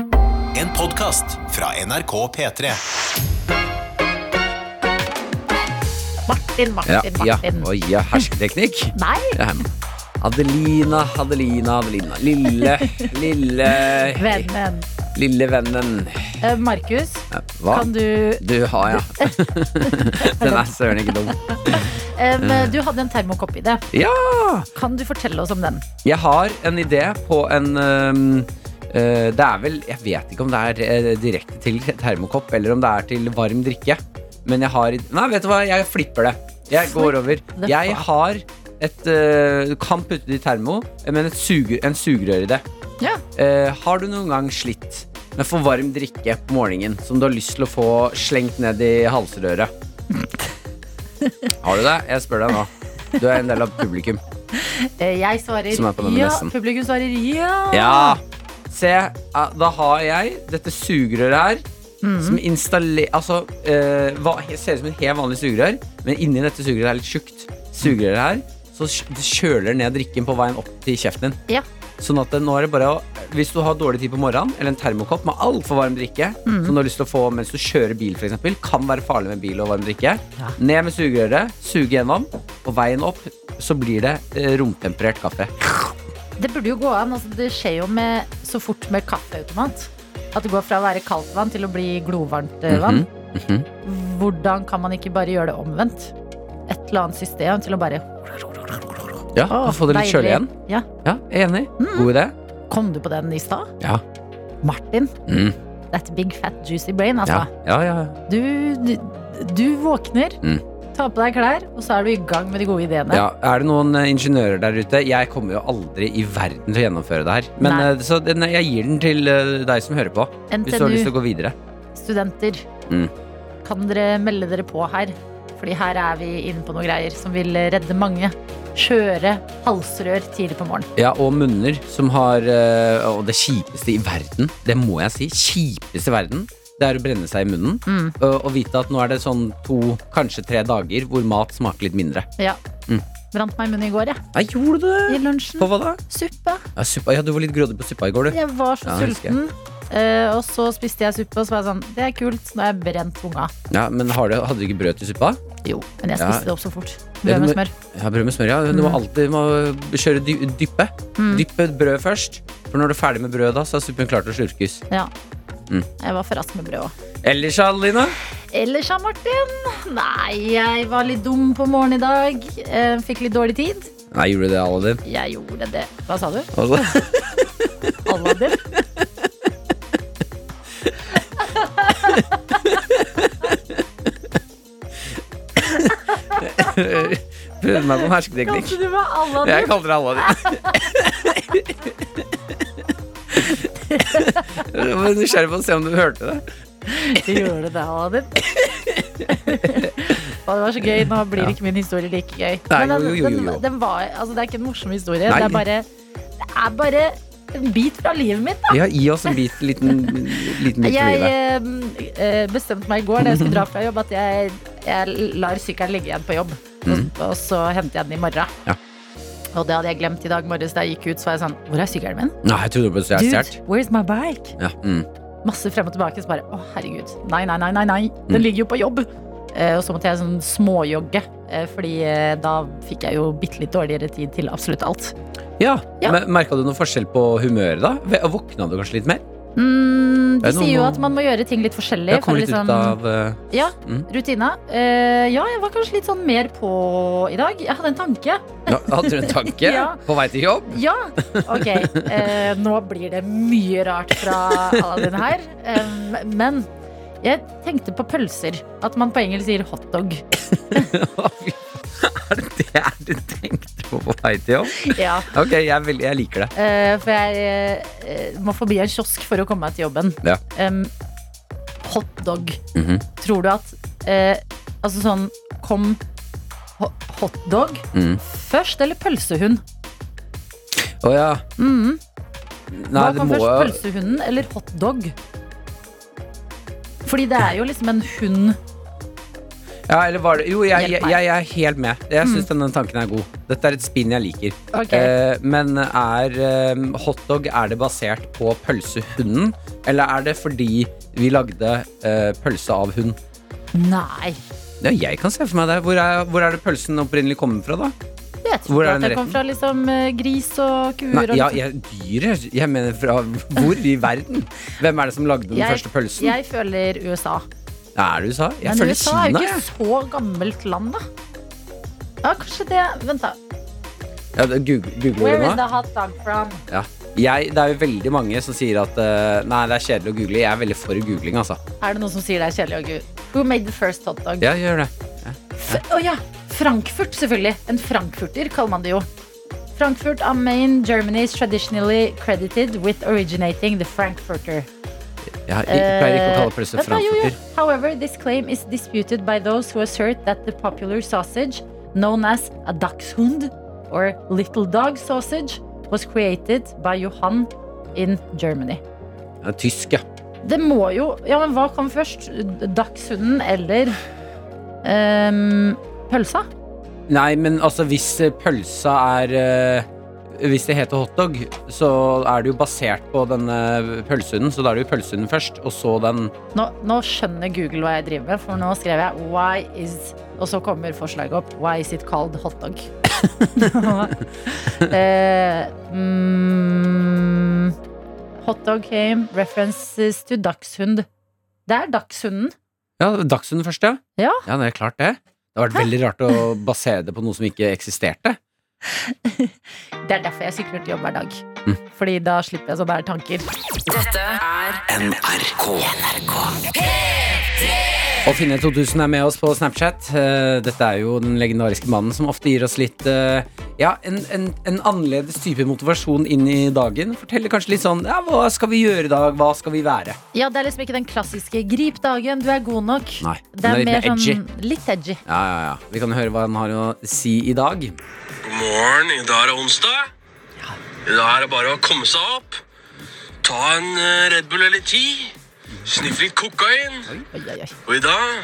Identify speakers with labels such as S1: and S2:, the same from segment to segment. S1: En podkast fra NRK P3.
S2: Martin,
S3: Ja,
S2: Martin,
S3: ja.
S2: Martin.
S3: Oi, ja. Hersketeknikk.
S2: Nei,
S3: Ja. Adelina, Adelina, Adelina. Lille, lille
S2: vennen.
S3: Lille vennen.
S2: Eh, Markus,
S3: Ja, Hva?
S2: kan du
S3: Du har, ja. Den er søren ikke dum.
S2: em,
S3: Eh.
S2: Du hadde en termokopp i det.
S3: Ja!
S2: Kan du fortelle oss om den?
S3: Jeg har en idé på en øhm, øh, Det er vel Jeg vet ikke om det er øh, direkte til termokopp, eller om det er til varm drikke. Men jeg har Nei, vet du hva, jeg flipper det. Jeg går over.
S2: the
S3: Jeg
S2: fuck.
S3: har et øh, Du kan putte det i termo, men et suger, en sugerør i det.
S2: Ja.
S3: Eh, har du noen gang slitt med for varm drikke på morgenen som du har lyst til å få slengt ned i halsrøret? Har du det? Jeg spør deg nå. Du er en del av publikum.
S2: Eh, Jeg svarer
S3: Som er på denne
S2: ja.
S3: messen.
S2: Publikum svarer ja.
S3: Ja! Se, eh, da har jeg dette sugerøret her. Som installer... Altså, eh, hva, ser ut som et helt vanlig sugerør, men inni dette sugerøret er litt tjukt. Sugerøret her, så kj- det kjøler ned drikken på veien opp til kjeften din.
S2: Ja.
S3: Sånn at det, nå er det bare å, Hvis du har dårlig tid på morgenen, eller en termokopp med altfor varm drikke,
S2: Mhm.
S3: som du har lyst til å få mens du kjører bil, for eksempel kan være farlig med bil og varm drikke,
S2: Ja.
S3: ned med sugerøret, suge gjennom, på veien opp så blir det eh, romtemperert kaffe.
S2: Det burde jo gå an. Altså, det skjer jo med, så fort med kaffeautomat. At det går fra å være kaldt vann til å bli glovarmt eh, vann.
S3: Mhm.
S2: Hvordan kan man ikke bare gjøre det omvendt? Et eller annet system til å bare
S3: Mhm. Ja,
S2: Å,
S3: Få det
S2: deilig.
S3: litt
S2: Mhm.
S3: kjølig igjen.
S2: Ja.
S3: Ja, jeg er enig. God idé.
S2: Kom du på den i stad?
S3: Ja.
S2: Martin,
S3: Mm.
S2: that big fat juicy brain, Mhm. altså.
S3: Ja. Ja, ja, ja.
S2: Du, du, du våkner,
S3: Mm.
S2: tar på deg klær, og så er du i gang med de gode ideene.
S3: ja. Er det noen eh, ingeniører der ute? Jeg kommer jo aldri i verden til å gjennomføre det her. Men
S2: Nei.
S3: eh, så den, jeg gir den til eh, deg som hører på, hvis du har lyst til å gå videre.
S2: NTNU-studenter,
S3: Mm.
S2: kan dere melde dere på her? Fordi her er vi inne på noe greier som vil redde mange. Skjøre halsrør tidlig på morgenen.
S3: Ja, og munner som har eh, Og det kjipeste i verden, det må jeg si, kjipeste i verden, det er å brenne seg i munnen.
S2: Mm.
S3: eh, Og vite at nå er det sånn to, kanskje tre dager hvor mat smaker litt mindre.
S2: Ja.
S3: Mm.
S2: Brant meg i munnen i går, jeg.
S3: Nei, gjorde du
S2: I
S3: det?
S2: lunsjen.
S3: På hva da?
S2: Suppe.
S3: Ja, suppa. ja, du var litt grådig på suppa i går, du.
S2: Jeg var så
S3: Ja, det husker jeg.
S2: sulten. Eh, og så spiste jeg suppe, og så var jeg sånn Det er kult, nå har jeg brent tunga.
S3: Ja, Men har du, hadde du ikke brød til suppa?
S2: Jo, men jeg
S3: Ja.
S2: spiste det opp så fort. Brød
S3: Ja, du
S2: med
S3: må-
S2: smør.
S3: Ja, brød med smør, ja. Du må alltid du må kjøre dy dyppe.
S2: Mm.
S3: Dyppe brød først. For når du er ferdig med brødet, da, så er suppen klar til å slurkes.
S2: Ja.
S3: Mm.
S2: Jeg var for rask med brød òg.
S3: Ellers, Adelina?
S2: Ellers, ja, Martin? Nei, jeg var litt dum på morgenen i dag. Eh, Fikk litt dårlig tid.
S3: Nei, gjorde du det, Aladdin?
S2: Jeg gjorde det. Hva sa du?
S3: Altså,
S2: Aladdin?
S3: Prøvde meg på en hersketeknikk.
S2: Kalte du meg
S3: Jeg
S2: Aladdin?
S3: kaller deg Aladdin. Jeg var nysgjerrig på å se om du hørte det.
S2: Du gjorde det, Aladdin. Og det var så gøy. Nå blir ikke min historie like gøy.
S3: Nei,
S2: Men
S3: jo, jo, jo, jo.
S2: Den, den var, altså, det er ikke en morsom historie.
S3: Nei.
S2: Det er, bare, det er bare en bit fra livet mitt. Da.
S3: Ja, gi oss en bit, liten, liten bit for
S2: Jeg
S3: livet.
S2: eh, eh, bestemte meg i går da jeg skulle dra fra jobb, at jeg, jeg lar sykkelen ligge igjen på jobb. Og, og så henter jeg den i morgen.
S3: Mm. Ja.
S2: Og det hadde jeg glemt i dag morges da jeg gikk ut. Så var jeg sånn Hvor er sykkelen min?
S3: Nei, jeg trodde du ble stjålet.
S2: Dude, where's my bike?
S3: Ja, mm.
S2: Masse frem og tilbake. Så bare Å, herregud. Nei, nei, nei, nei. nei.
S3: Mm.
S2: Den ligger jo på jobb. Eh, og så måtte jeg sånn småjogge, eh, fordi eh, da fikk jeg jo bitte litt dårligere tid til absolutt alt.
S3: ja.
S2: Ja.
S3: Men merka du noe forskjell på humøret da? Våkna du kanskje litt mer?
S2: Mm, de
S3: Det er noe
S2: sier jo
S3: man-
S2: at man må gjøre ting litt forskjellig.
S3: Jeg kom
S2: for
S3: litt
S2: liksom-
S3: ut av eh,
S2: Ja,
S3: Mm.
S2: rutina. Eh, ja, jeg var kanskje litt sånn mer på i dag. Jeg hadde en tanke.
S3: Ja, hadde du en tanke
S2: sånn- Ja.
S3: på vei til jobb?
S2: Ja! Ok, eh, nå blir det mye rart fra Aladdin her. Eh, men jeg tenkte på pølser. At man på engelsk sier hotdog.
S3: er det det du tenkte på på vei til jobb?
S2: Ja,
S3: Ok, jeg, er veldig- jeg liker det.
S2: eh, for jeg eh, må forbi en kiosk for å komme meg til jobben.
S3: Ja. Mhm.
S2: Em, hotdog. Tror du at eh, Altså sånn Kom ho- hotdog
S3: Mm.
S2: først, eller pølsehund?
S3: Å ja.
S2: Mhm.
S3: Nei,
S2: Hva
S3: det
S2: kom
S3: må
S2: først,
S3: jo
S2: pølsehunden eller hotdog? Fordi det er jo liksom en hund
S3: Ja, eller var det Jo, jeg,
S2: Hjelp meg.
S3: jeg,
S2: Mm.
S3: jeg er helt med. Jeg syns denne tanken er god. Dette er et spinn jeg liker.
S2: Ok.
S3: Eh, men er eh, hotdog Er det basert på pølsehunden, eller er det fordi vi lagde eh, pølse av hund?
S2: Nei.
S3: Ja, jeg kan se for meg det. Hvor er, hvor er det pølsen opprinnelig kommer fra, da?
S2: Jeg tror
S3: Hvor er
S2: ikke at
S3: den
S2: det kom
S3: retten?
S2: fra liksom, eh, gris og kuer.
S3: Nei,
S2: og
S3: ja,
S2: liksom-
S3: jeg, dyret? Jeg mener fra hvor i verden? Hvem er det som lagde den
S2: Jeg-
S3: første pølsen?
S2: Jeg føler USA.
S3: er det USA? Jeg
S2: Men
S3: føler
S2: USA er jo
S3: Kina.
S2: ikke
S3: jeg.
S2: så gammelt land, da. Ja, kanskje det Vent, da.
S3: Ja, det- Google, googler
S2: Where
S3: du
S2: is
S3: nå?
S2: the hot dog from?
S3: Ja. Jeg, det er jo veldig mange som sier at eh, nei, det er kjedelig å google. Jeg er veldig for googling, altså.
S2: Er det noen som sier det er kjedelig? og gud? Who made the first hot dog?
S3: Ja, gjør det.
S2: F Å ja, Frankfurt, selvfølgelig. En frankfurter kaller man det jo. Frankfurt am Main, Germany is traditionally credited with originating the Frankfurter.
S3: Ja, jeg pleier ikke å kalle pølse
S2: Eh, vent da, jo, jo.
S3: frankfurter.
S2: However, this claim is disputed by those who assert that the popular sausage, known as a dachshund or little dog sausage, was created by Johan in Germany.
S3: Ja, tysk, ja.
S2: Det må jo Ja, men hva kom først? Dagshunden eller ehm, pølsa?
S3: Nei, men altså, hvis eh, pølsa er eh, Hvis det heter hotdog, så er det jo basert på denne pølsehunden. Så da er det jo pølsehunden først, og så den
S2: Nå, nå skjønner Google hva jeg driver med, for nå skrev jeg Why is Og så kommer forslaget opp. Why is it called hotdog? eh, mm, hotdog came references to dagshund. Det er dagshunden.
S3: Ja, dagshunden først, ja.
S2: Ja.
S3: ja, det er klart det. Det hadde vært veldig rart å basere det på noe som ikke eksisterte.
S2: Det er derfor jeg sykler til jobb hver dag.
S3: Mm.
S2: Fordi da slipper jeg sånne her tanker.
S3: Å finne 2000 er med oss på Snapchat. Eh, Dette er jo den legendariske mannen som ofte gir oss litt eh, Ja, en, en, en annerledes type motivasjon inn i dagen. Forteller kanskje litt sånn Ja, hva skal vi gjøre i dag? Hva skal vi være?
S2: Ja, det er liksom ikke den klassiske 'grip dagen, du er god nok'.
S3: Nei,
S2: det
S3: den
S2: er,
S3: er litt
S2: mer
S3: mer edgy.
S2: sånn litt edgy.
S3: Ja, ja, ja. Vi kan høre hva han har å si i dag.
S4: God morgen. I dag er det onsdag. I dag er det bare å komme seg opp. Ta en eh, Red Bull eller ti. Sniff litt kokain.
S2: Oi, oi, oi.
S4: Og i dag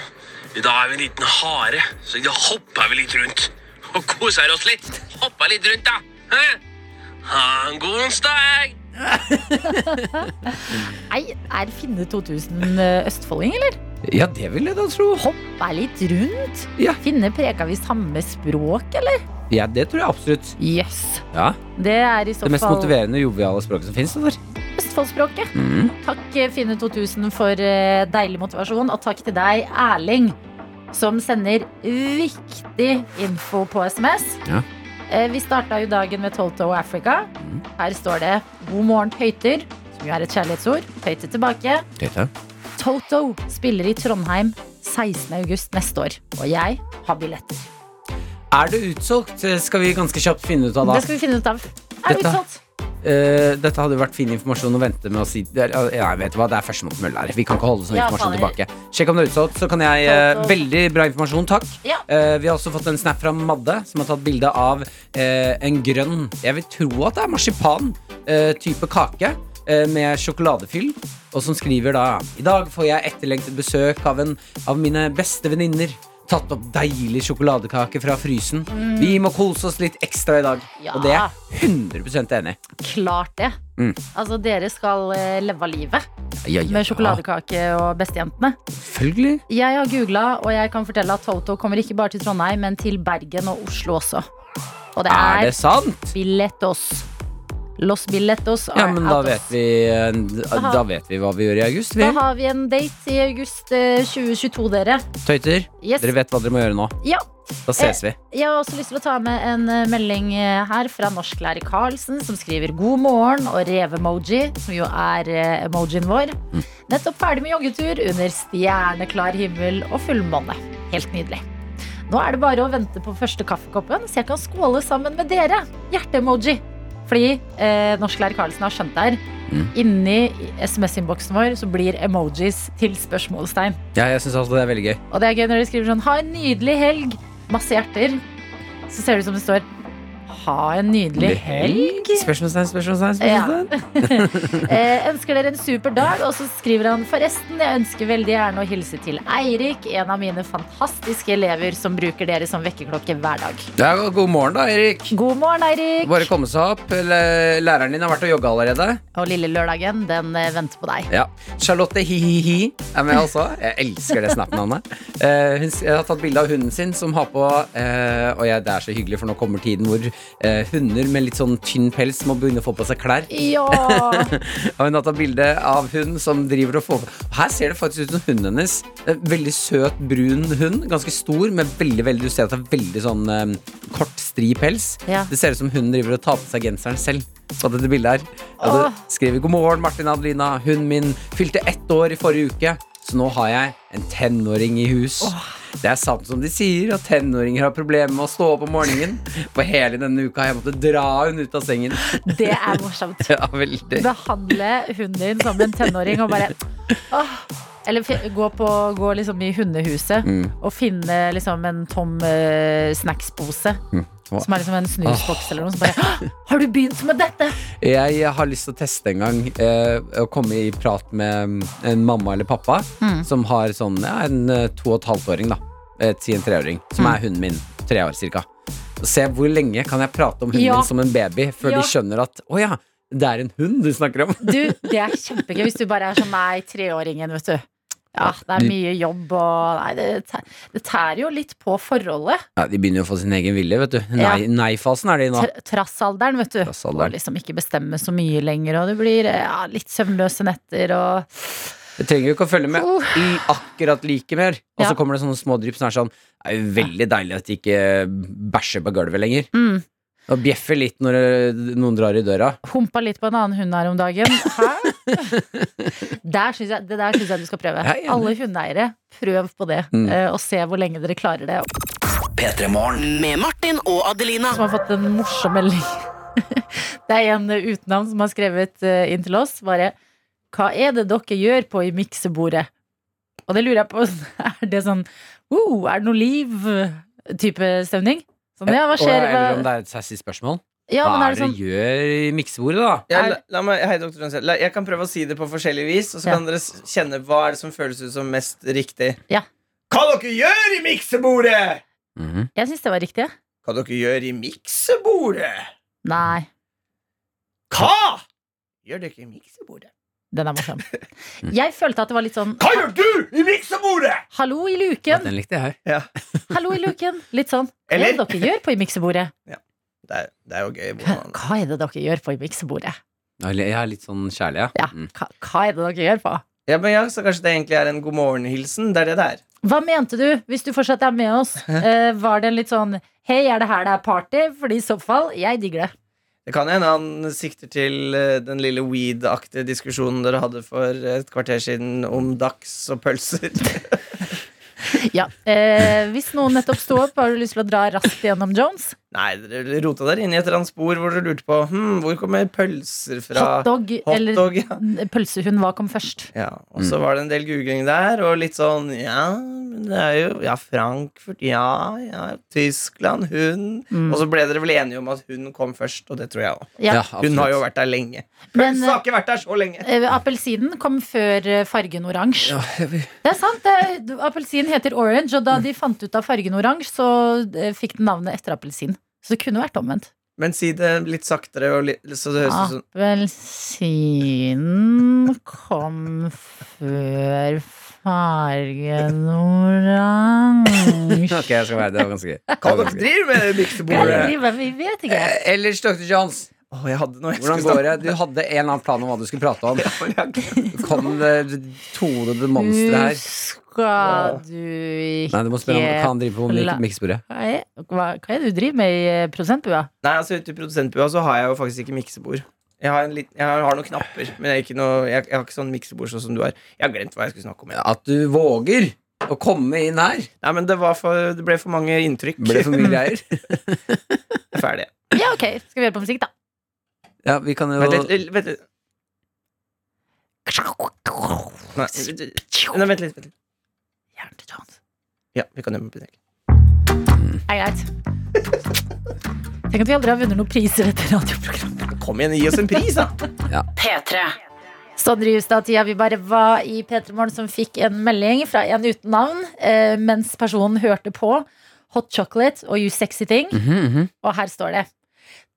S4: i dag er vi en liten hare, så i dag hopper vi litt rundt. Og koser oss litt. Hopper litt rundt, da. Hæ? Ha en god onsdag.
S2: Nei, er Finne 2000 eh, østfolding, eller?
S3: Ja, det vil jeg da tro.
S2: Hoppe litt rundt?
S3: Ja.
S2: Finne preka vi samme språk, eller?
S3: Ja, det tror jeg absolutt.
S2: Jøss. Yes.
S3: Ja,
S2: Det er i så
S3: Det mest
S2: fall
S3: motiverende joviale språket som fins.
S2: Østfoldspråket.
S3: Mm.
S2: Takk eh, Finne 2000 for eh, deilig motivasjon, og takk til deg, Erling, som sender viktig info på SMS.
S3: Ja.
S2: Eh, Vi starta jo dagen med Toto Africa.
S3: Mm.
S2: Her står det 'God morgen, tøyter', som jo er et kjærlighetsord. Tøyte tilbake. Toto spiller i Trondheim 16. august neste år, og jeg har billetter.
S3: Er det utsolgt? Skal vi ganske kjapt finne ut av da.
S2: Det skal vi finne ut av. Er det
S3: Dette-
S2: utsolgt?
S3: Eh, dette hadde jo vært fin informasjon å vente med å si det er, ja, vet du hva, det er førstemann til mølla her. Vi kan ikke holde sånn
S2: Ja,
S3: informasjon
S2: faen.
S3: tilbake. Sjekk om det er utsolgt, så kan jeg eh,
S2: Solgt, solgt.
S3: Veldig bra informasjon, takk.
S2: Ja.
S3: Eh, vi har også fått en snap fra Madde, som har tatt bilde av eh, en grønn Jeg vil tro at det er marsipan-type kake. eh, Med sjokoladefyll, og som skriver da I dag får jeg etterlengtet besøk av en av mine beste venninner. Tatt opp deilig sjokoladekake fra frysen. Vi må kose oss litt ekstra i dag.
S2: Mm. Ja.
S3: Og det er jeg 100 enig i.
S2: Klart det.
S3: Mm.
S2: Altså, dere skal eh, leve av livet
S3: Ja, ja,
S2: med
S3: ja.
S2: sjokoladekake og bestejentene.
S3: Selvfølgelig.
S2: Jeg har googla, og jeg kan fortelle at Toto kommer ikke bare til Trondheim, men til Bergen og Oslo også. Og det
S3: Er
S2: er,
S3: det sant?
S2: billetos. Los billetos
S3: Ja,
S2: are
S3: men da
S2: out
S3: vet
S2: of-
S3: vi, eh, da vet vi hva vi gjør i august. Vi
S2: Da har vi en date i august eh, 2022, dere.
S3: tøyter.
S2: Yes. Eh.
S3: Dere vet hva dere må gjøre nå.
S2: Ja.
S3: Da ses vi.
S2: Jeg har også lyst til å ta med en eh, melding eh, her fra norsklærer Karlsen, som skriver 'god morgen' og revemoji, som jo er eh, emojien vår. Nettopp ferdig med joggetur under stjerneklar himmel og fullmåne. Helt nydelig. Nå er det bare å vente på første kaffekoppen, så jeg kan skåle sammen med dere. Hjerte-emoji. Fordi eh, norsklærer Karlsen har skjønt det her. Inni SMS-innboksen vår så blir emojis til spørsmålstegn.
S3: Ja, jeg syns det er veldig gøy.
S2: Og det er gøy når de skriver sånn Ha en nydelig helg, masse hjerter Så ser det ut som det står Ha en nydelig helg.
S3: Spørsmålstegn, spørsmålstegn, spørsmålstegn.
S2: Eh, ønsker dere en super dag. Og så skriver han forresten, jeg ønsker veldig gjerne å hilse til Eirik, en av mine fantastiske elever som bruker dere som vekkerklokke hver dag.
S3: Ja, god morgen, da, Erik.
S2: God morgen, Eirik.
S3: Bare komme seg opp. Læ- Læreren din har vært og jogga allerede.
S2: Og lille lørdagen, den eh, venter på deg.
S3: Ja. Charlotte Hihihi er med også. Jeg elsker det Snap-navnet. Eh, hun s- jeg har tatt bilde av hunden sin som har på eh, Og jeg, det er så hyggelig, for nå kommer tiden hvor eh, hunder med litt sånn tynn pels må begynne å få på seg klær.
S2: Ja!
S3: Og hun har tatt bilde av hun som driver og får Her ser det faktisk ut som hunden hennes. En Veldig søt, brun hund. Ganske stor, med veldig, veldig Du ser at det er veldig sånn eh, kort, stri pels.
S2: Ja.
S3: Det ser ut som hun driver og tar på seg genseren selv. På dette bildet her. Og det
S2: Åh.
S3: skriver God morgen, Martin og Adelina. Hunden min fylte ett år i forrige uke, så nå har jeg en tenåring i hus. Det er sant som de sier, at tenåringer har problemer med å stå opp om morgenen. På hele denne uka har jeg måttet dra hun ut av sengen.
S2: Det er morsomt.
S3: Ja, veldig.
S2: Behandle hunden din som en tenåring og bare åh. Eller fi- gå, på, gå liksom i hundehuset og finne liksom en tom eh, snackspose.
S3: Hva-
S2: Som er liksom en snusboks eller noe. Så bare «Åh, Har du begynt med dette?!
S3: Jeg har lyst til å teste en gang eh, å komme i prat med mm, en mamma eller pappa
S2: Mm.
S3: som har sånn ja, en eh, to og et halvt åring, da. Eh, Til en treåring.
S2: Mm.
S3: Som er hunden min. Tre år, cirka. Og se hvor lenge kan jeg prate om hunden
S2: Ja.
S3: min som en baby før
S2: Ja.
S3: de skjønner at å ja, det er en hund du snakker om.
S2: Du, det er kjempegøy hvis du bare er sånn nei, treåringen, vet du. Ja, det er mye jobb og Nei, det tæ- det tærer jo litt på forholdet.
S3: Ja, de begynner jo å få sin egen vilje, vet du.
S2: Ja.
S3: Nei- Nei-fasen er de nå.
S2: Tr- Trassalderen, vet du.
S3: Trassalderen.
S2: Og liksom ikke bestemme så mye lenger, og det blir eh, ja, litt søvnløse netter og
S3: Jeg trenger jo ikke å følge med i akkurat like mer. Og
S2: Oh.
S3: så
S2: Ja.
S3: kommer det sånne smådrypp som er sånn Det er jo veldig deilig at de ikke bæsjer på gulvet lenger.
S2: Mm.
S3: Og bjeffer litt når eh, noen drar i døra.
S2: humpa litt på en annen hund her om dagen. Hæ? Der synes jeg, det der syns jeg du skal prøve.
S3: Jeg er enig. Mm.
S2: Alle hundeeiere, prøv på det. eh, Og se hvor lenge dere klarer det.
S5: Med Martin og Adelina.
S2: Som har fått en morsom melding. Det er en eh, uten navn som har skrevet eh, inn til oss. Bare Hva er det dere gjør på i miksebordet? Og det lurer jeg på. Er det sånn oh, Er det noe liv-type stemning? Sånn, ja, hva
S3: Og,
S2: skjer?
S3: eller om
S2: Hva,
S3: det er et sassy spørsmål.
S2: ja, men er
S3: Hva er
S2: det
S3: det
S2: sånn
S3: dere gjør i miksebordet, da?
S6: Ja,
S2: Er-
S6: la, la meg, hei, doktor Johnsen. La, jeg kan prøve å si det på forskjellig vis, og så
S2: Ja.
S6: kan dere s- kjenne hva er det som føles ut som mest riktig.
S2: Ja.
S6: Hva dere gjør i miksebordet?
S3: Mhm.
S2: Jeg syns det var riktig, jeg.
S6: Hva dere gjør i miksebordet?
S2: Nei.
S6: Hva gjør dere i miksebordet?
S2: Den er morsom. Jeg følte at det var litt sånn
S6: Hva gjør du i miksebordet?
S2: Hallo i
S3: Ja,
S2: luken!
S3: Den likte jeg.
S6: Ja,
S2: Hallo i luken! Litt sånn. Hva er
S6: Eller-
S2: det dere gjør på i miksebordet?
S6: det er, det er jo gøy.
S2: Hva
S6: hvordan-
S2: hva er det dere gjør på i miksebordet?
S3: Ja, Jeg er litt sånn kjærlig, ja.
S2: Ja,
S3: Mm.
S2: hva, hva er det dere gjør på?
S6: Ja, men ja, så kanskje det egentlig er en god morgen-hilsen. Det er det det er.
S2: Hva mente du, hvis du fortsatt er med oss? Eh, var det en litt sånn Hei, er det her det er party? Fordi i så fall, jeg digger det.
S6: Det kan hende han sikter til eh, den lille weed-aktige diskusjonen dere hadde for et kvarter siden om dags og pølser.
S2: Ja. Eh, hvis noen nettopp sto opp, har du lyst til å dra raskt gjennom Jones?
S6: Nei, dere rota dere inn i et eller annet spor hvor dere lurte på hm, hvor kommer pølser fra.
S2: Hotdog eller
S6: Hotdog, ja.
S2: pølsehund? Hva kom først?
S6: ja. Og
S3: Mm.
S6: så var det en del googling der, og litt sånn Ja, men det er jo Ja, Frankfurt Ja, ja, Tyskland Hun
S2: Mm.
S6: Og så ble dere vel enige om at hun kom først, og det tror jeg òg.
S2: Ja.
S6: Hun har jo
S3: absolutt.
S6: vært der lenge.
S2: Men,
S6: Pølsa har ikke vært der så lenge.
S2: Eh, Appelsinen kom før eh, fargen oransje. Det er sant. Det, er- appelsin heter orange, og da de fant ut av fargen oransje, så eh, fikk den navnet etter appelsin. Så det kunne vært omvendt.
S6: Men si det litt saktere, og litt, så det
S2: Ah.
S6: høres ut som
S2: Appelsinen kom før fargen oransje.
S3: Ok, jeg skal være det. var ganske gøy.
S6: Hva dere driver med,
S2: Hva er det
S6: miksebordet?
S2: vi driver med? Vi vet ikke.
S3: Eh, Ellers, Dr. Johns,
S6: Å, jeg hadde noe jeg
S3: hvordan
S6: skulle
S3: går det? Du hadde en eller annen plan om hva du skulle prate om.
S6: snakke om.
S3: Kom det det tonede monsteret her?
S2: Huska du ikke
S3: Nei, du må spørre om hva han driver på med i miksebordet.
S2: Hva er hva er det du driver med i eh, prosentbua?
S6: Nei, altså ute i produsentbua så har jeg jo faktisk ikke miksebord. Jeg har, en liten, jeg har, har noen knapper, men jeg, er ikke noe, jeg, jeg har ikke sånn miksebord sånn som du har. Jeg har glemt hva jeg skulle snakke om. jeg.
S3: At du våger å komme inn her.
S6: Nei, men det, var for, det ble for mange inntrykk.
S3: Ble det for mye greier?
S6: Jeg er ferdig.
S2: Ja, ok. Skal vi høre på musikk, da?
S3: Ja, vi kan jo
S6: Vent litt, litt, vent litt. Nei, vent litt. Nei, vent litt, vent litt.
S2: Hjerne til Jones.
S6: Ja, vi kan gjøre det.
S2: er greit. Tenk at vi aldri har vunnet noen priser etter radioprogrammet.
S6: Kom igjen, gi oss en pris, da!
S5: P3.
S2: Sånn rus da, tida vi bare var i P3 Morgen som fikk en melding fra en uten navn, eh, mens personen hørte på Hot Chocolate og You Sexy Thing.
S3: Mhm,
S2: Og her står det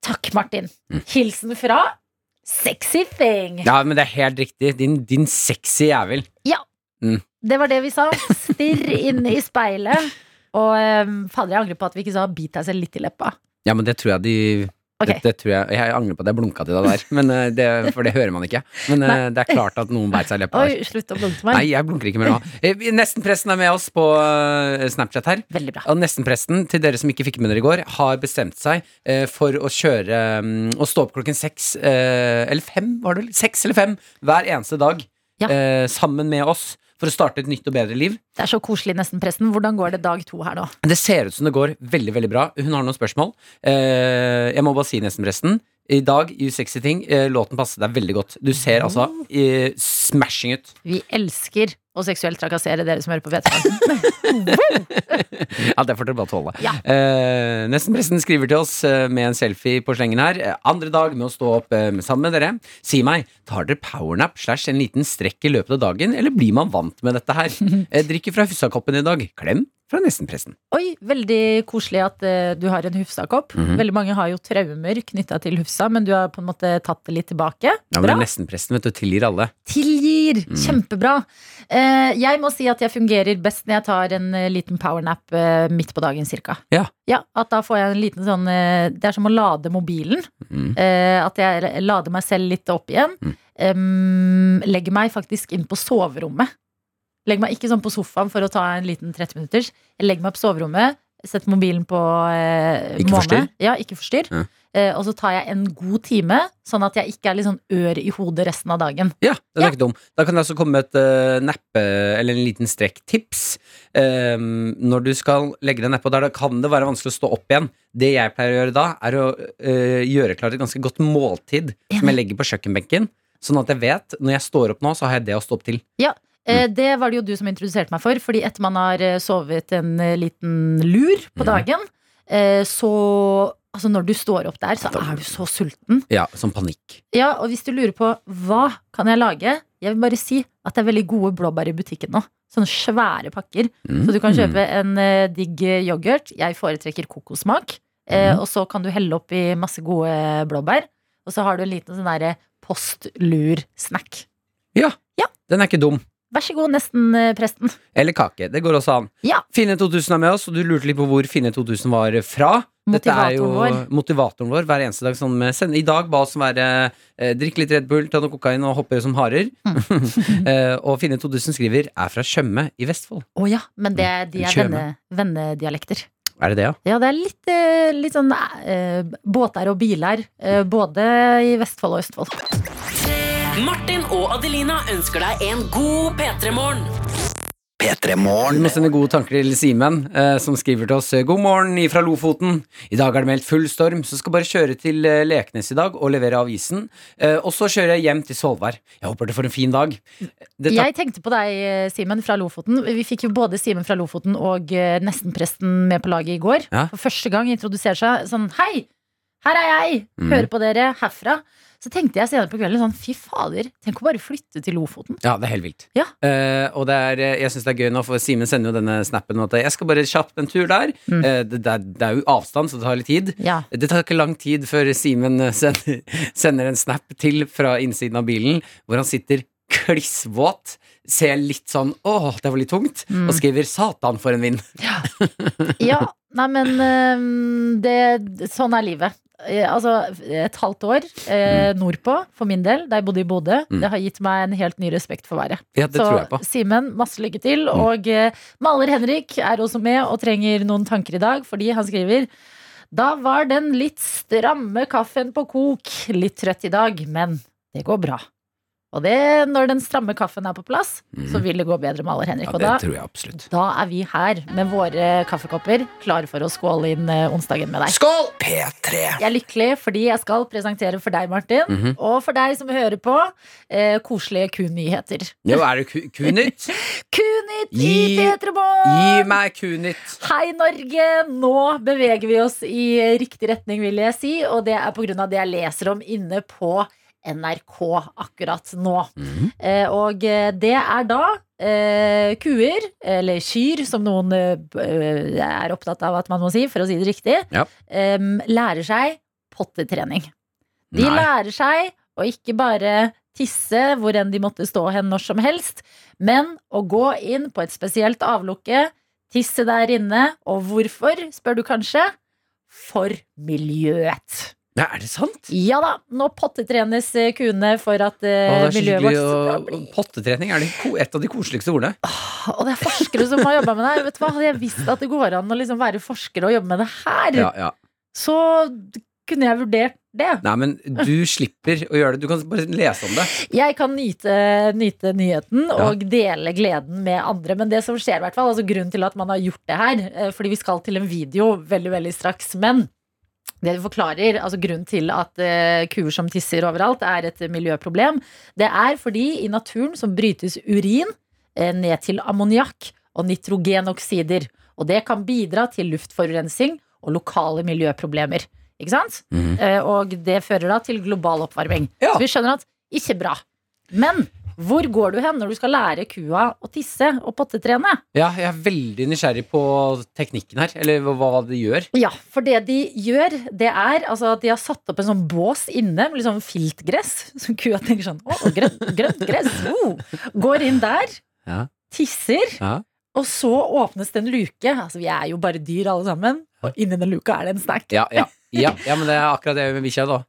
S2: Takk, Martin. Hilsen fra Sexy Thing.
S3: Ja, men det er helt riktig. Din, din sexy jævel.
S2: Det var det vi sa. Stirr inn i speilet. Og eh, fader, jeg angrer på at vi ikke sa 'bit deg selv litt i leppa'.
S3: Ja, men det tror jeg de
S2: Ok.
S3: det, det tror jeg, jeg angrer på at jeg blunka til deg der, men, eh, det, for det hører man ikke. Men eh, det er klart at noen beit seg i leppa der.
S2: Oi, slutt å blunke til meg.
S3: Nei, jeg blunker ikke mer nå. Eh, vi- Nestenpresten er med oss på eh, Snapchat her.
S2: Veldig bra.
S3: Og nestenpresten, til dere som ikke fikk med dere i går, har bestemt seg eh, for å kjøre mm, Å stå opp klokken seks, eh, eller fem, var det vel? Seks eller fem hver eneste dag
S2: Ja.
S3: eh, sammen med oss for å starte et nytt og bedre liv.
S2: Det er så koselig, nesten, presten. Hvordan går det dag to her nå?
S3: Det ser ut som det går veldig veldig bra. Hun har noen spørsmål. Eh, jeg må bare si, nestenpresten, i dag, You Sexy Thing, eh, låten passer deg veldig godt. Du ser altså eh, smashing ut.
S2: Vi elsker å seksuelt trakassere dere som hører på P3.
S3: Ja, det får dere bare tåle.
S2: Ja.
S3: Eh, Nestenpresten skriver til oss eh, med en selfie på slengen her. Eh, Andre dag med å stå opp eh, sammen med dere. Si meg, tar dere powernap slash en liten strekk i løpet av dagen, eller blir man vant med dette her? Eh, drikker fra Hussakoppen i dag. Klem fra nestenpresten.
S2: Oi, veldig koselig at eh, du har en Hufsa-kopp.
S3: Mhm.
S2: Veldig mange har jo traumer knytta til Hufsa, men du har på en måte tatt det litt tilbake.
S3: Ja, men nestenpresten vet du, tilgir alle.
S2: Tilgir!
S3: Mm.
S2: Kjempebra. Eh, jeg må si at jeg fungerer best når jeg tar en eh, liten powernap eh, midt på dagen cirka.
S3: Ja.
S2: at da får jeg en liten sånn eh, Det er som å lade mobilen.
S3: Mm.
S2: Eh, at jeg lader meg selv litt opp igjen. Em, legger meg faktisk inn på soverommet. Legger meg ikke sånn på sofaen for å ta en liten 30-minutters. Jeg legger meg på soverommet, setter mobilen på eh,
S3: Ikke
S2: måne.
S3: forstyrr?
S2: Ja, ikke forstyrr.
S3: Ja.
S2: Eh, og så tar jeg en god time, sånn at jeg ikke er litt sånn ør i hodet resten av dagen.
S3: Ja, den er
S2: Ja.
S3: ikke dum. Da kan jeg også komme med et eh, neppe, eller en liten strekk-tips. Eh, når du skal legge deg nedpå der, da kan det være vanskelig å stå opp igjen. Det jeg pleier å gjøre da, er å eh, gjøre klar et ganske godt måltid som jeg legger på kjøkkenbenken. Sånn at jeg vet, når jeg står opp nå, så har jeg det å stå opp til.
S2: Eh,
S3: Mm.
S2: Det var det jo du som introduserte meg for, fordi etter man har eh, sovet en eh, liten lur på
S3: Mm.
S2: dagen, eh, så Altså, når du står opp der, så er du så sulten.
S3: Ja, Som panikk.
S2: Ja, og hvis du lurer på hva kan jeg lage, jeg vil bare si at det er veldig gode blåbær i butikken nå. Sånne svære pakker.
S3: Mm.
S2: Så du kan kjøpe en eh, digg yoghurt. Jeg foretrekker kokosmak. Eh,
S3: Mm.
S2: og så kan du helle oppi masse gode blåbær. Og så har du en liten sånn derre postlur-snack.
S3: Ja,
S2: Ja.
S3: Den er ikke dum.
S2: Vær så god, nesten, eh, presten.
S3: Eller kake. Det går også an.
S2: Ja.
S3: Finne 2000 er med oss, og du lurte litt på hvor Finne 2000 var fra. Dette er jo
S2: Motivatoren
S3: motivatoren vår hver eneste dag. Sånn med send- I dag ba oss om å være eh, drikke litt Red Bull, ta noe kokain og hoppe som harer.
S2: Mm.
S3: eh, og Finne 2000 skriver er fra Tjøme i Vestfold.
S2: Å ja, men det, de er
S3: Kjøme.
S2: venne, vennedialekter.
S3: Er det det, ja?
S2: Ja, det er litt, eh, litt sånn eh, båter og biler. Eh, både i Vestfold og Østfold.
S5: Martin og Adelina ønsker deg en god P3-morgen.
S3: Vi må sende gode tanker til Simen, eh, som skriver til oss God morgen ifra Lofoten. I dag er det meldt full storm, så skal bare kjøre til eh, Leknes i dag og levere avisen. Eh, og så kjører jeg hjem til Svolvær. Jeg håper det får en fin dag. Det tar
S2: Jeg tenkte på deg, eh, Simen fra Lofoten. Vi fikk jo både Simen fra Lofoten og eh, nestenpresten med på laget i går.
S3: Ja.
S2: For første gang introduserer seg sånn Hei, her er jeg! Hører på dere herfra. Så tenkte jeg senere på kvelden sånn Fy fader, tenk å bare flytte til Lofoten.
S3: Ja, det er helt vilt.
S2: Ja.
S3: Eh, og det er, eh, jeg syns det er gøy nå, for Simen sender jo denne snappen om at eh, jeg skal bare kjapt en tur der. Eh, det, det, er, det er jo avstand, så det tar litt tid.
S2: Ja.
S3: Det tar ikke lang tid før Simen eh, sender, sender en snap til fra innsiden av bilen, hvor han sitter klissvåt, ser litt sånn 'Åh, det var litt tungt', og skriver 'Satan, for en vind'.
S2: Ja, nei, men eh, det, sånn er livet. Eh, Altså, et halvt år eh,
S3: Mm.
S2: nordpå, for min del, da jeg bodde i Bodø, det har gitt meg en helt ny respekt for været.
S3: Ja, det
S2: så
S3: tror jeg på. Mm.
S2: Simen, masse lykke til. Og eh, maler Henrik er også med og trenger noen tanker i dag, fordi han skriver Da var den litt stramme kaffen på kok. Litt trøtt i dag, men det går bra. Og det, når den stramme kaffen er på plass, så vil det gå bedre, maler Henrik.
S3: Mm. Ja,
S2: og da,
S3: det tror jeg absolutt.
S2: da er vi her med våre kaffekopper, klare for å skåle inn eh, onsdagen med deg.
S3: Skål!
S2: Jeg er lykkelig fordi jeg skal presentere for deg, Martin,
S3: Mhm.
S2: og for deg som hører på, eh, koselige kunyheter.
S3: Nå er det ku- kunytt.
S2: Kunytt! Kunit i
S3: Gi-
S2: P3
S3: Gi
S2: Morgen!
S3: meg kunit.
S2: Hei, Norge! Nå beveger vi oss i riktig retning, vil jeg si. Og det er pga. det jeg leser om inne på NRK akkurat nå.
S3: Mhm.
S2: Eh, og eh, det er da eh, kuer, eller kyr, som noen eh, b- eh, er opptatt av at man må si, for å si det riktig,
S3: Ja.
S2: em, lærer seg pottetrening. De
S3: Nei.
S2: lærer seg å ikke bare tisse hvor enn de måtte stå hen når som helst, men å gå inn på et spesielt avlukke, tisse der inne, og hvorfor, spør du kanskje? For miljøet.
S3: Nei, er det sant?
S2: Ja da, nå pottetrenes eh, kuene for at
S3: Å,
S2: eh,
S3: det er så
S2: miljøet
S3: hyggelig
S2: vårt skal
S3: å
S2: bli
S3: Pottetrening er det ko- et av de koseligste ordene.
S2: Og det er forskere som har jobba med det her. Vet du hva? Hadde jeg visst at det går an å liksom være forsker og jobbe med det her,
S3: Ja, ja.
S2: så kunne jeg vurdert det.
S3: Nei, men du slipper å gjøre det. Du kan bare lese om det.
S2: Jeg kan nyte, nyte nyheten og dele gleden med andre. Men det som skjer, i hvert fall, altså grunnen til at man har gjort det her eh, Fordi vi skal til en video veldig, veldig straks. Men det du forklarer, altså grunnen til at eh, kuer som tisser overalt, er et miljøproblem, det er fordi i naturen som brytes urin eh, ned til ammoniakk og nitrogenoksider. Og det kan bidra til luftforurensning og lokale miljøproblemer. Ikke sant? Eh, Og det fører da til global oppvarming.
S3: Ja.
S2: Så vi skjønner at ikke bra. Men hvor går du hen når du skal lære kua å tisse og pottetrene?
S3: Ja, jeg er veldig nysgjerrig på teknikken her, eller hva- hva det gjør.
S2: Ja, for det de gjør, det er altså, at de har satt opp en sånn bås inne med litt sånn filtgress. Som kua tenker sånn Å, grønt, grønt gress! Oh. Går inn der,
S3: Ja.
S2: tisser,
S3: Ja.
S2: og så åpnes det en luke. Altså, vi er jo bare dyr alle sammen, og inni den luka er det en snack.
S3: Ja, ja, ja, ja men det er akkurat det jeg gjør med bikkja, da.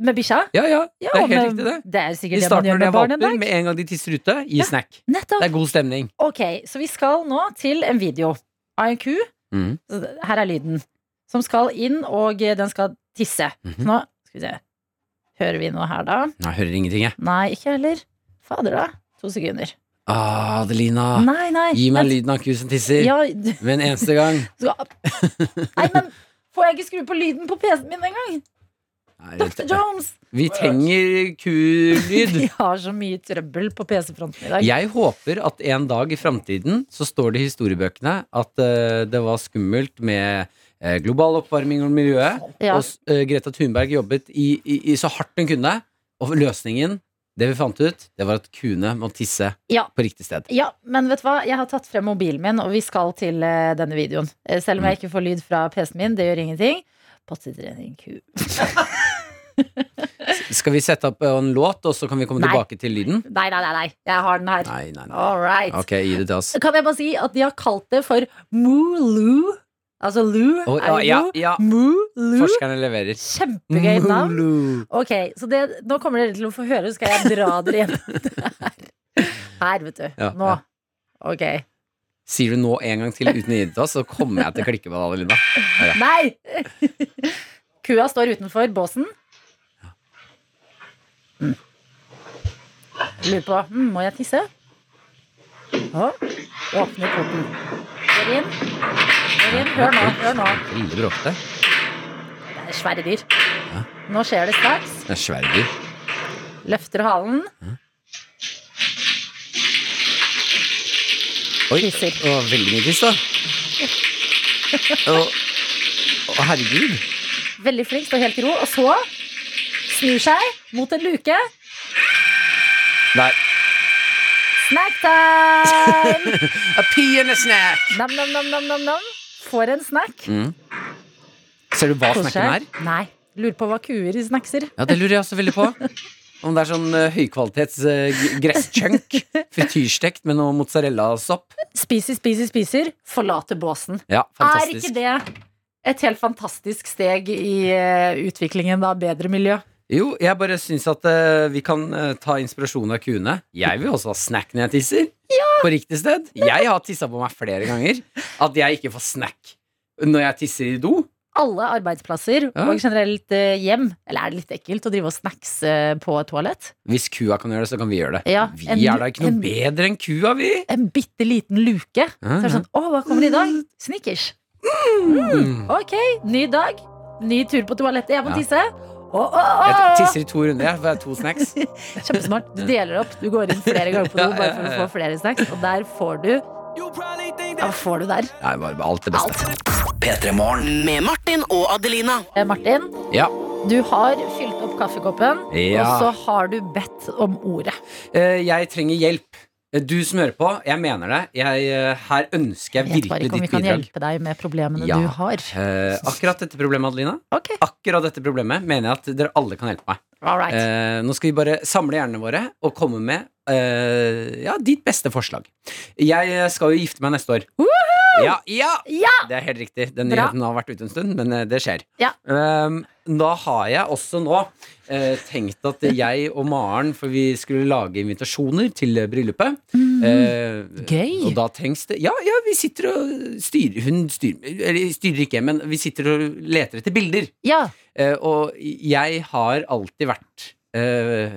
S2: Med bikkja.
S3: Ja, ja,
S2: Ja,
S3: det er helt
S2: men
S3: riktig, det.
S2: Det er
S3: De
S2: sikkert det man
S3: starter
S2: gjør
S3: når de er
S2: med barn en
S3: valper,
S2: dag.
S3: med en gang de tisser ute, gi snack.
S2: Nettopp.
S3: Det er god stemning.
S2: Ok, så vi skal nå til en video av en ku.
S3: Mhm.
S2: Her er lyden. Som skal inn, og eh, den skal tisse.
S3: Mhm.
S2: Nå skal vi se. Hører vi noe her, da?
S3: Nei, Jeg hører ingenting, jeg.
S2: Nei, ikke heller. Fader, da. To sekunder.
S3: Ah, Adelina,
S2: Nei, nei.
S3: gi meg
S2: vent.
S3: lyden av ku som tisser.
S2: Ja,
S3: Med en eneste gang.
S2: nei, men får jeg ikke skru på lyden på PC-en min engang?
S3: Nei,
S2: Dr.
S3: vi-
S2: Jones!
S3: vi trenger kulyd.
S2: Vi har så mye trøbbel på PC-fronten i dag.
S3: Jeg håper at en dag i framtiden så står det i historiebøkene at eh, det var skummelt med eh, global oppvarming og miljøet,
S2: Ja.
S3: og eh, Greta Thunberg jobbet i, i, i så hardt hun kunne, og løsningen, det vi fant ut, det var at kuene må tisse
S2: Ja.
S3: på riktig sted.
S2: Ja, men vet du hva? Jeg har tatt frem mobilen min, og vi skal til eh, denne videoen. Eh, Selv om
S3: Mm.
S2: jeg ikke får lyd fra PC-en min, det gjør ingenting. Pottetrening, ku.
S3: Skal vi sette opp eh, en låt, og så kan vi komme
S2: Nei.
S3: tilbake til lyden?
S2: Nei, nei, nei, nei. Jeg har den her.
S3: Nei, nei, nei.
S2: All right.
S3: Ok, gi det til oss.
S2: Kan jeg bare si at de har kalt det for Mooloo? Altså Loo
S3: Å,
S2: er jo
S3: ja, ja, ja.
S2: Mooloo.
S3: Forskerne leverer.
S2: Kjempegøy navn.
S3: Mulu.
S2: Ok, så det, nå kommer dere til å få høre, så skal jeg dra dere gjennom det her. Her, vet du.
S3: Ja,
S2: nå.
S3: ja.
S2: Ok.
S3: Sier du nå en gang til uten å gi det til oss, så kommer jeg til å klikke på det, Adelina. Ja.
S2: Nei! Kua står utenfor båsen. Mm. Lurer på mm, Må jeg tisse? Å, åpner porten. Går inn. Går inn. Hør nå. Hør nå.
S3: Veldig bråkete.
S2: Det er svære dyr. Nå skjer det straks.
S3: Det er svære dyr.
S2: Løfter halen.
S3: Oi,
S2: Tisser.
S3: Å, veldig mye tiss, da. Å, å, herregud.
S2: Veldig flink. Står helt i ro. Og så snur seg mot en luke.
S3: Nei.
S2: Snacktime!
S3: A pee and a snack.
S2: Nam-nam-nam-nam-nam. Får en snack.
S3: Ser du hva snacken
S2: Koser
S3: er?
S2: seg. Nei. Lurer på hva kuer snackser.
S3: Ja, det lurer jeg også veldig på. Om det er sånn eh, høykvalitets eh, g- gresschunk. Frityrstekt med noe mozzarellasopp.
S2: Spiser, spiser, spiser. Forlater båsen.
S3: Ja, fantastisk.
S2: Er ikke det et helt fantastisk steg i eh, utviklingen av bedre miljø?
S3: Jo, jeg bare syns at eh, vi kan eh, ta inspirasjon av kuene. Jeg vil også ha snack når jeg tisser. På riktig sted. Jeg har tissa på meg flere ganger. At jeg ikke får snack når jeg tisser i do.
S2: Alle arbeidsplasser
S3: Ja.
S2: og generelt eh, hjem. Eller er det litt ekkelt å drive og snackse eh, på et toalett?
S3: Hvis kua kan gjøre det, så kan vi gjøre det.
S2: Ja,
S3: vi
S2: en-
S3: er da ikke noe
S2: en-
S3: bedre enn kua, vi!
S2: En bitte liten luke. Så er det sånn Å, hva kommer det i dag? Snickers. Mm, ok, ny dag. Ny tur på toalettet. Jeg må
S3: Ja.
S2: tisse. Å, å, å!
S3: Jeg tisser i to runder, jeg. for jeg har to snacks.
S2: Kjempesmart. Du deler opp. Du går inn flere ganger på do bare for å få flere snacks, og der får du Hva får du der?
S3: Nei, bare bare alt det
S2: Alt.
S3: beste.
S5: Med Martin og Adelina.
S2: Eh, Martin,
S3: Ja.
S2: du har fylt opp kaffekoppen, og
S3: Ja.
S2: så har du bedt om ordet.
S3: Eh, Jeg trenger hjelp. Eh, Du som hører på, jeg mener det. Jeg, eh, her ønsker jeg
S2: Jeg vet bare
S3: virkelig
S2: ikke om vi
S3: ditt
S2: kan
S3: bidrag.
S2: hjelpe deg med problemene
S3: Ja.
S2: du har.
S3: Eh, akkurat dette problemet, Adelina,
S2: Ok,
S3: Akkurat dette problemet mener jeg at dere alle kan hjelpe meg.
S2: all right.
S3: Eh, nå skal vi bare samle hjernene våre og komme med eh, ja, ditt beste forslag. Jeg skal jo gifte meg neste år. Ja, ja,
S2: Ja!
S3: det er helt riktig. Den
S2: Bra.
S3: nyheten har vært ute en stund, men eh, det skjer.
S2: Ja.
S3: Ehm, da har jeg også nå eh, tenkt at jeg og Maren For vi skulle lage invitasjoner til eh, bryllupet. Eh,
S2: Mhm. Gøy.
S3: Og da trengs det Ja, ja, vi sitter og styrer Hun styrer, eller styrer ikke, men vi sitter og leter etter bilder.
S2: Ja.
S3: Eh, og jeg har alltid vært eh,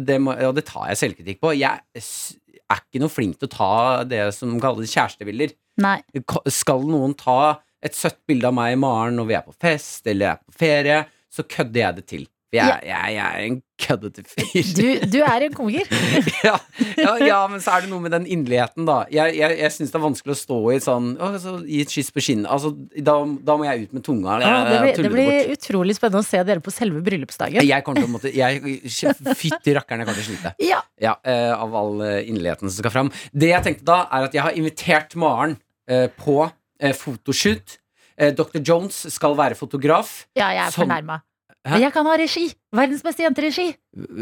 S3: det må, Og det tar jeg selvkritikk på. Jeg s- er ikke noe flink til å ta det som kalles kjærestebilder.
S2: Nei.
S3: Ka- Skal noen ta et søtt bilde av meg i morgen når vi er på fest eller er på ferie, så kødder jeg det til. For jeg, jeg, jeg er en køddete fyr.
S2: Du, du er en komiker.
S3: ja, ja, ja, men så er det noe med den inderligheten, da. Jeg, jeg, jeg syns det er vanskelig å stå i et sånn å, så, Gi et kyss på kinnet. Altså, da, da må jeg ut med tunga.
S2: Ja, Ah, det, blir,
S3: tulle
S2: det blir utrolig spennende å se dere på selve bryllupsdagen.
S3: Jeg kommer til å måtte jeg- Fytti rakkeren, jeg kommer til å slite.
S2: Ja.
S3: Ja, eh, Av all eh, innligheten som skal fram. Det jeg tenkte da, er at jeg har invitert Maren eh, på eh, fotoshoot. Eh, Dr. Jones skal være fotograf.
S2: ja, jeg er
S3: Som-
S2: fornærma.
S3: Hæ?
S2: Jeg kan ha regi! Verdens beste jenteregi.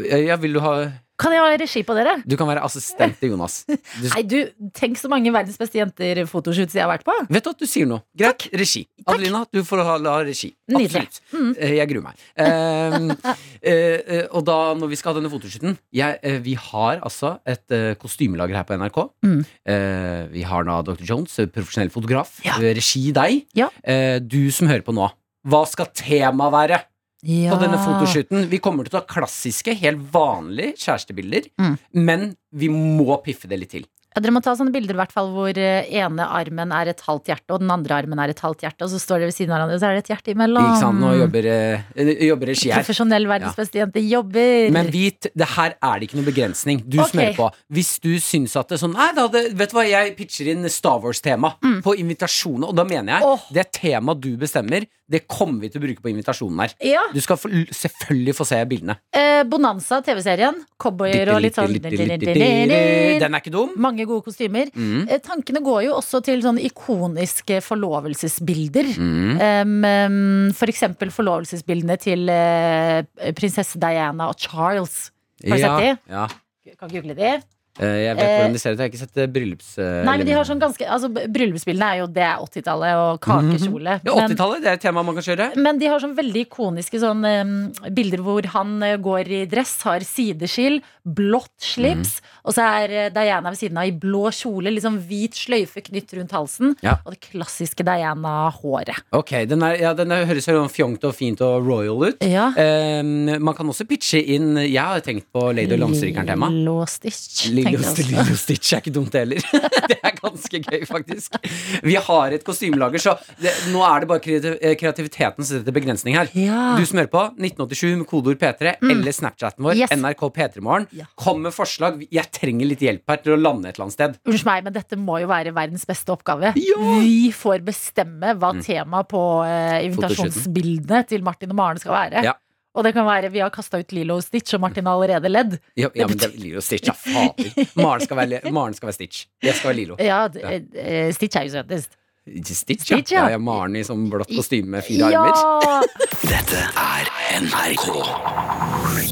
S3: Eh, Ja, vil du ha
S2: Kan jeg ha regi på dere?
S3: Du kan være assistent til Jonas. Du,
S2: Nei, du, tenk så mange verdens beste jenter-fotoshoots jeg har vært på.
S3: vet du at du sier noe? Greit. Regi. Adelina, du får ha, ha regi.
S2: Nydelig. Mm.
S3: Absolutt. Eh, Jeg gruer meg. Eh, eh, eh, og da, når vi skal ha denne fotoshooten jeg, eh, Vi har altså et eh, kostymelager her på NRK.
S2: Mm.
S3: Eh, vi har da Dr. Jones, eh, profesjonell fotograf.
S2: Ja.
S3: Eh, Regi deg.
S2: Ja.
S3: Eh, du som hører på nå. Hva skal temaet være på denne fotoshooten? Vi kommer til å ta klassiske, helt vanlige kjærestebilder,
S2: Mm.
S3: men vi må piffe det litt til.
S2: Ja, dere må ta sånne bilder i hvert fall hvor eh, ene armen er et halvt hjerte, og den andre armen er et halvt hjerte, og så står dere ved siden av hverandre, og så er det et hjerte imellom.
S3: Ikke sant? Nå jobber, eh, eh, jobber regi her.
S2: Profesjonell verdens beste jente jobber.
S3: Men vit, det her er det ikke noen begrensning. Du som
S2: Ok.
S3: hører på. Hvis du syns at det er sånn Nei, da hadde, vet du hva, jeg pitcher inn Star Wars-tema på invitasjonen, og da mener jeg
S2: Mm. Åh.
S3: det temaet du bestemmer, det kommer vi til å bruke på invitasjonen her.
S2: ja,
S3: Du skal få, selvfølgelig få se bildene.
S2: eh, Bonanza, TV-serien. Cowboyer og litt sånn
S3: Den er ikke dum.
S2: Mange gode kostymer.
S3: Mm.
S2: Eh, Tankene går jo også til sånne ikoniske forlovelsesbilder.
S3: Mm.
S2: Um, um, for eksempel forlovelsesbildene til eh, prinsesse Diana og Charles. Har du
S3: ja,
S2: sett
S3: Ja.
S2: de? Kan google de.
S3: Eh, Jeg vet
S2: Eh.
S3: hvordan de ser ut. Jeg har ikke sett eh, bryllups... eh,
S2: Nei, men de har
S3: elementer.
S2: sånn ganske altså, b- Bryllupsbildene er jo det er 80-tallet og kakekjole.
S3: Mm. ja,
S2: men-
S3: 80-tallet, det er et tema man kan kjøre.
S2: Men de har sånn veldig ikoniske sånn, eh, bilder hvor han eh, går i dress, har sideskill, blått
S3: Mm.
S2: slips, og så er eh, Diana ved siden av i blå kjole, liksom hvit sløyfe knytt rundt halsen,
S3: Ja.
S2: og det klassiske Diana-håret.
S3: Ok, Den, er, ja, den er, høres jo fjongt og fint og royal ut.
S2: Ja.
S3: Ehm, man kan også pitche inn Jeg har tenkt på Lady og Lamstrykeren-tema.
S2: Lilo Stitch.
S3: Lilo,
S2: tenker jeg også.
S3: Lilo Stitch er ikke dumt heller. Det er ganske gøy, faktisk. Vi har et kostymelager, så det, nå er det bare kreativ- eh, kreativiteten som setter begrensning her.
S2: Ja. Mm.
S3: Du som hører på, 1987 med kodeord P3 eller Snapchaten vår,
S2: Yes.
S3: NRK P3morgen.
S2: Ja.
S3: Kom med forslag. Jeg trenger litt hjelp her til å lande et eller annet sted.
S2: Unnskyld meg, men dette må jo være verdens beste oppgave.
S3: Ja! Mm.
S2: Vi får bestemme hva temaet på eh, invitasjonsbildene til Martin og Maren skal være.
S3: Ja.
S2: Og det kan være vi har kasta ut Lilo og Stitch, og Martin har allerede ledd.
S3: Ja, ja men det er Lilo Stitch, ja. Fader. Maren skal, være, Le- Maren skal være Stitch. Jeg skal være Lilo.
S2: Ja, d- eh, Stitch er jo søtest.
S3: Stitch, ja.
S2: Stitch, ja.
S3: ja, ja Maren i sånn blått kostyme med fire armer.
S2: Ja!
S1: NRK.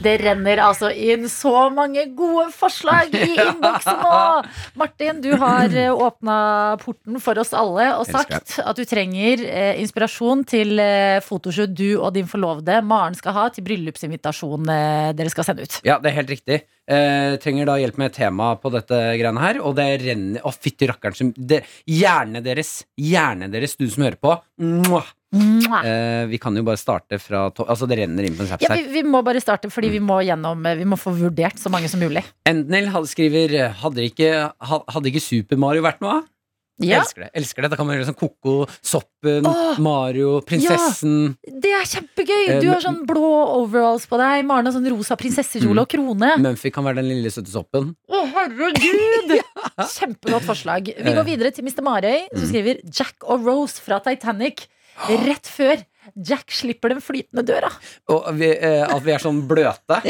S2: Det renner altså inn så mange gode forslag i innboksen nå! Martin, du har åpna porten for oss alle og sagt at du trenger eh, inspirasjon til eh, fotoshoot du og din forlovede Maren skal ha til bryllupsinvitasjon eh, dere skal sende ut.
S3: Ja, det er helt riktig. Eh, trenger da hjelp med tema på dette greiene her. Og det renner Å, fytti rakkeren som det, Hjernen deres, hjernen deres, du som hører på. Mwah!
S2: Mwah.
S3: Eh, vi kan jo bare starte fra to Altså, det renner inn på en
S2: Ja,
S3: Snapchat.
S2: vi, vi må bare starte, fordi vi må, gjennom, eh, vi må få vurdert så mange som mulig.
S3: eh, Endnil han skriver hadde ikke, ha- hadde ikke Super Mario vært noe av?
S7: Ja,
S3: Elsker det. elsker det Da kan man gjøre sånn Koko, Soppen, Mario, Prinsessen.
S2: Det er
S3: Eh,
S2: kjempegøy! Du har sånn blå overalls på deg. Maren har sånn rosa prinsessekjole og
S3: Mm.
S2: krone.
S3: Mumphy kan være den lille søte soppen.
S2: Å, herregud! Kjempegodt forslag.
S3: Eh.
S2: Vi går videre til Mr. Marøy, som
S3: Mm.
S2: skriver Jack og Rose fra Titanic rett før Jack slipper den flytende døra.
S3: Og vi, eh, at vi er sånn bløte.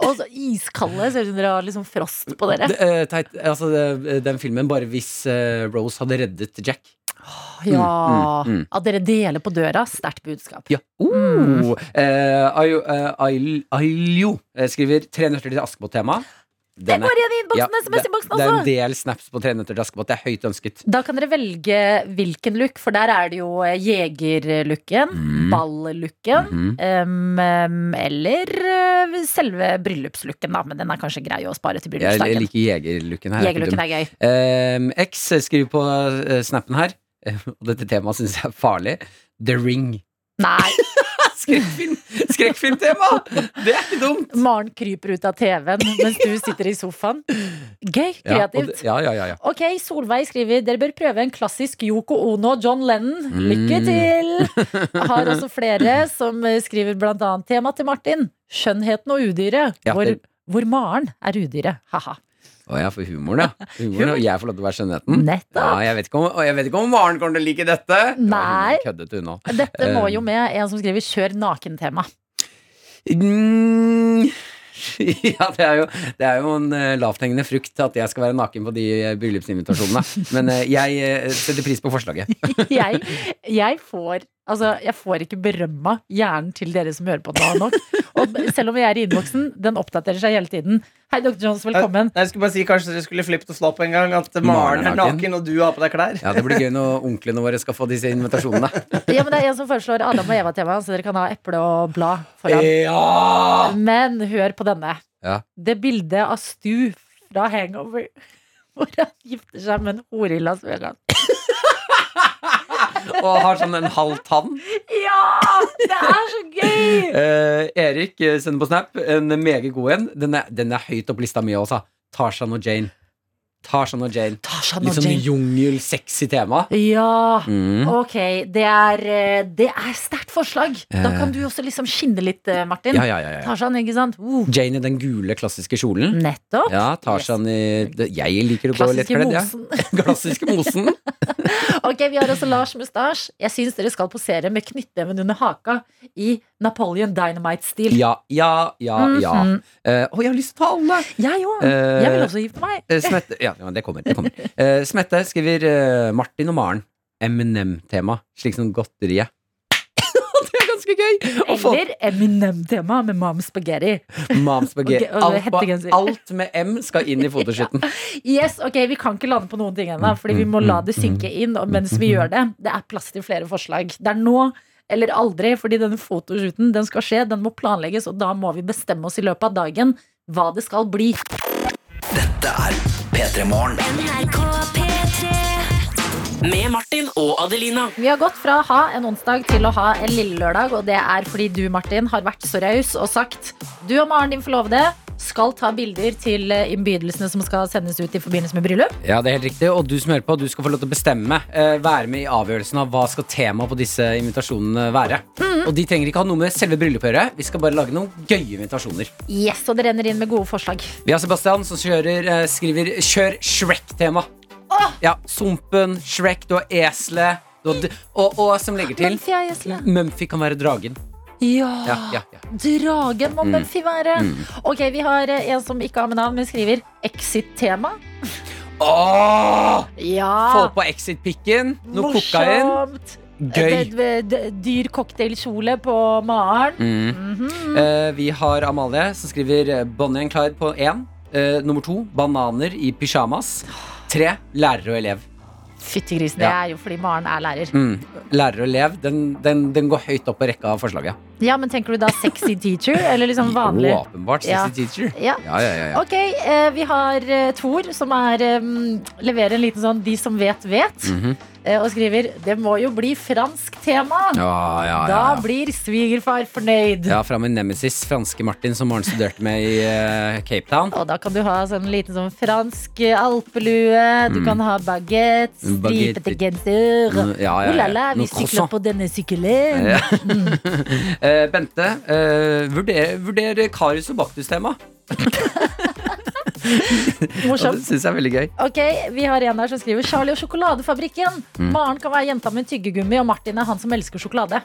S2: Og så iskalde. Ser ut som dere har liksom frost på dere.
S3: Det, eh, teit, altså, det, den filmen bare hvis eh, Rose hadde reddet Jack.
S2: Ja.
S3: mm, mm.
S2: At dere deler på døra. Sterkt budskap.
S3: Ja.
S2: Mm.
S3: Oh. Eh, Ayo- eh, Ail- Ailjo eh, skriver 'Tre nøtter til Askepott-tema'.
S2: Det går igjen i
S3: Ja,
S2: innboksen!
S3: det,
S2: SMS-innboksen
S3: det er en
S2: også!
S3: del snaps på 'Tre nøtter til Askepott'. Det er høyt ønsket.
S2: Da kan dere velge hvilken look, for der er det jo eh, jegerlooken,
S3: Mm.
S2: ball-looken
S3: Mhm.
S2: em, em, eller eh, selve bryllupslooken, da. Men den er kanskje grei å spare til
S3: Jeg, jeg
S2: bryllupsdagen.
S3: liker jegerlooken her.
S2: Jegerlooken er gøy.
S3: Um, X skriver på eh, snappen her, eh, og dette temaet syns jeg er farlig. The Ring.
S2: Nei.
S3: Skrekkfilm- Skrekkfilmtema! det er ikke dumt!
S2: Maren kryper ut av TV-en mens du sitter i sofaen. Gøy.
S3: Ja, og det-
S2: Kreativt.
S3: ja, ja, ja, ja.
S2: Ok, Solveig skriver dere bør prøve en klassisk Yoko Ono og John Lennon. Lykke
S3: Mm.
S2: til! Har også flere som eh, skriver blant annet tema til Martin. Skjønnheten og udyret.
S3: Ja,
S2: Hvor,
S3: det-
S2: hvor Maren er udyret. Ha-ha.
S3: Å ja, for humoren, ja. Humoren, og jeg får lov til å være skjønnheten. Ja,
S2: Nettopp.
S3: jeg vet ikke om, og jeg vet ikke om Maren kommer til å like dette. Ja, hun
S2: Nei.
S3: Køddet hun nå.
S2: Dette må
S3: Eh.
S2: jo med en som skriver 'kjør nakentema'.
S3: Mm. Ja, det er jo, det er jo en eh, lavthengende frukt at jeg skal være naken på de eh, bryllupsinvitasjonene. Men eh, jeg eh, setter pris på forslaget.
S2: Jeg, jeg får Altså, jeg får ikke berømma hjernen til dere som hører på nå nok. Og selv om jeg er i innboksen, den oppdaterer seg hele tiden. Hei, Dr. Jones, velkommen.
S6: Jeg skulle bare si Kanskje dere skulle flippe og floppe en gang? At
S3: Maren
S6: Maren
S3: er
S6: er naken, og du har på deg klær?
S3: Ja, Det blir gøy når onklene våre skal få disse invitasjonene.
S2: Ja, men det er en som foreslår Adam og Eva-tema, så dere kan ha eple og blad foran.
S3: Ja!
S2: Men hør på denne.
S3: Ja.
S2: Det bildet av Stu fra Hangover hvor han gifter seg med en hore i Las Vegas.
S3: Og har sånn en halv tann.
S2: Ja! Det er så gøy!
S3: Eh, Erik eh, sender på Snap en meget god en. Den er, den er høyt opp lista mi også. Tarzan og Jane. Tarzan og Jane.
S2: Tarzan
S3: Litt
S2: og
S3: sånn
S2: Jane.
S3: jungel-sexy tema.
S2: Ja.
S3: Mm.
S2: Ok, det er, eh, det er sterkt forslag. Da kan du også liksom skinne litt, eh, Martin.
S3: Eh. Ja, ja, ja, ja.
S2: Tarzan, ikke sant? Uh,
S3: Jane i den gule, klassiske kjolen.
S2: nettopp.
S3: Ja, Tarzan i det- Jeg liker å gå lett
S2: Mm. Klassiske
S3: kledd, jeg.
S2: mosen.
S3: Klassiske mosen.
S2: Ok, Vi har også Lars Mustasj. Jeg syns dere skal posere med knyttneven under haka i Napoleon Dynamite-stil.
S3: Ja, ja, ja, ja. Å,
S2: Mhm.
S3: jeg har lyst til å ta alle!
S2: Jeg òg.
S3: Eh,
S2: Jeg vil også gifte meg.
S3: Eh, Smette, ja, ja, det kommer. Det kommer. Eh, Smette skriver eh, Martin og Maren. Eminem-tema, slik som godteriet. det er ganske gøy! Å få
S2: Eller Eminem-tema med Mom Spaghetti.
S3: Mom spaghetti.
S2: Og- og
S3: Alt,
S2: hettegenser.
S3: ba- alt med M skal inn i fotoshooten.
S2: Yes, ok, Vi kan ikke lande på noen ting ennå, fordi vi må la det synke inn. Og mens vi gjør det, det er plass til flere forslag. Det er nå eller aldri, fordi denne fotoshooten den skal skje, den må planlegges, og da må vi bestemme oss i løpet av dagen hva det skal bli.
S5: Med Martin og Adelina.
S2: Vi har gått fra å ha en onsdag til å ha en lille lørdag, og det er fordi du, Martin, har vært så raus og sagt du og Maren, din forlovede, skal ta bilder til eh, innbydelsene som skal sendes ut i forbindelse med bryllup.
S3: Ja, det er helt riktig. Og du som hører på, du skal få lov til å bestemme. eh, være med i avgjørelsen av hva skal temaet på disse invitasjonene være. Og de trenger ikke ha noe med selve bryllupet å gjøre. Vi skal bare lage noen gøye invitasjoner.
S2: Yes, Og det renner inn med gode forslag.
S3: Vi har Sebastian som kjører, eh, skriver 'Kjør Shrek-tema'. Ja, Sumpen, Shrek, du har eselet, du har d- og, og som legger til
S2: Mumphy er gjesle.
S3: Mumphy kan være dragen. Ja,
S2: Ja,
S3: ja, ja.
S2: dragen
S3: Mm.
S2: må Mumphy være. Ok, vi har eh, en som ikke har med navn, men skriver Exit-tema.
S3: Åh! Få
S2: Ja,
S3: på exit-pikken, noe kokain. Gøy.
S2: D- d- Dyr cocktailkjole på Maren.
S3: Mm.
S2: Mhm.
S3: Eh, vi har Amalie som skriver eh, Bonnie and Clyde på én. Eh, nummer to bananer i pysjamas. Tre lærer og elev.
S2: Fytti grisen, det
S3: Ja.
S2: er jo fordi Maren er lærer.
S3: Mm. Lærer og elev den, den, den går høyt opp på rekka av forslaget.
S2: Ja, men tenker du da sexy teacher, eller liksom vanlig?
S3: Åpenbart.
S2: Ja.
S3: Sissy Teacher.
S2: Ja.
S3: Ja, ja, ja, ja.
S2: Ok, eh, vi har eh, Thor som er, eh, leverer en liten sånn De som vet, vet.
S3: Mhm.
S2: eh, og skriver Det må jo bli fransk tema!
S3: Ja, ja, ja.
S2: Da blir svigerfar fornøyd.
S3: Ja, fra min nemesis, franske Martin, som Maren studerte med i eh, Cape Town.
S2: Og da kan du ha sånn liten sånn fransk eh, alpelue, du kan ha baguette,
S3: Mm, baguette.
S2: stripete genser.
S3: Mm, ja, ja, ja.
S2: Oh la la, vi
S3: Noen
S2: sykler
S3: croissant.
S2: på denne sykkelen.
S3: Ja. Eh, Bente, eh, vurder, vurder Karius og Baktus-tema. Ja, det
S2: Morsomt.
S3: syns jeg er veldig gøy.
S2: Ok, Vi har en her som skriver 'Charlie og sjokoladefabrikken'.
S3: Mm.
S2: Maren kan være jenta med tyggegummi, og Martin er han som elsker sjokolade.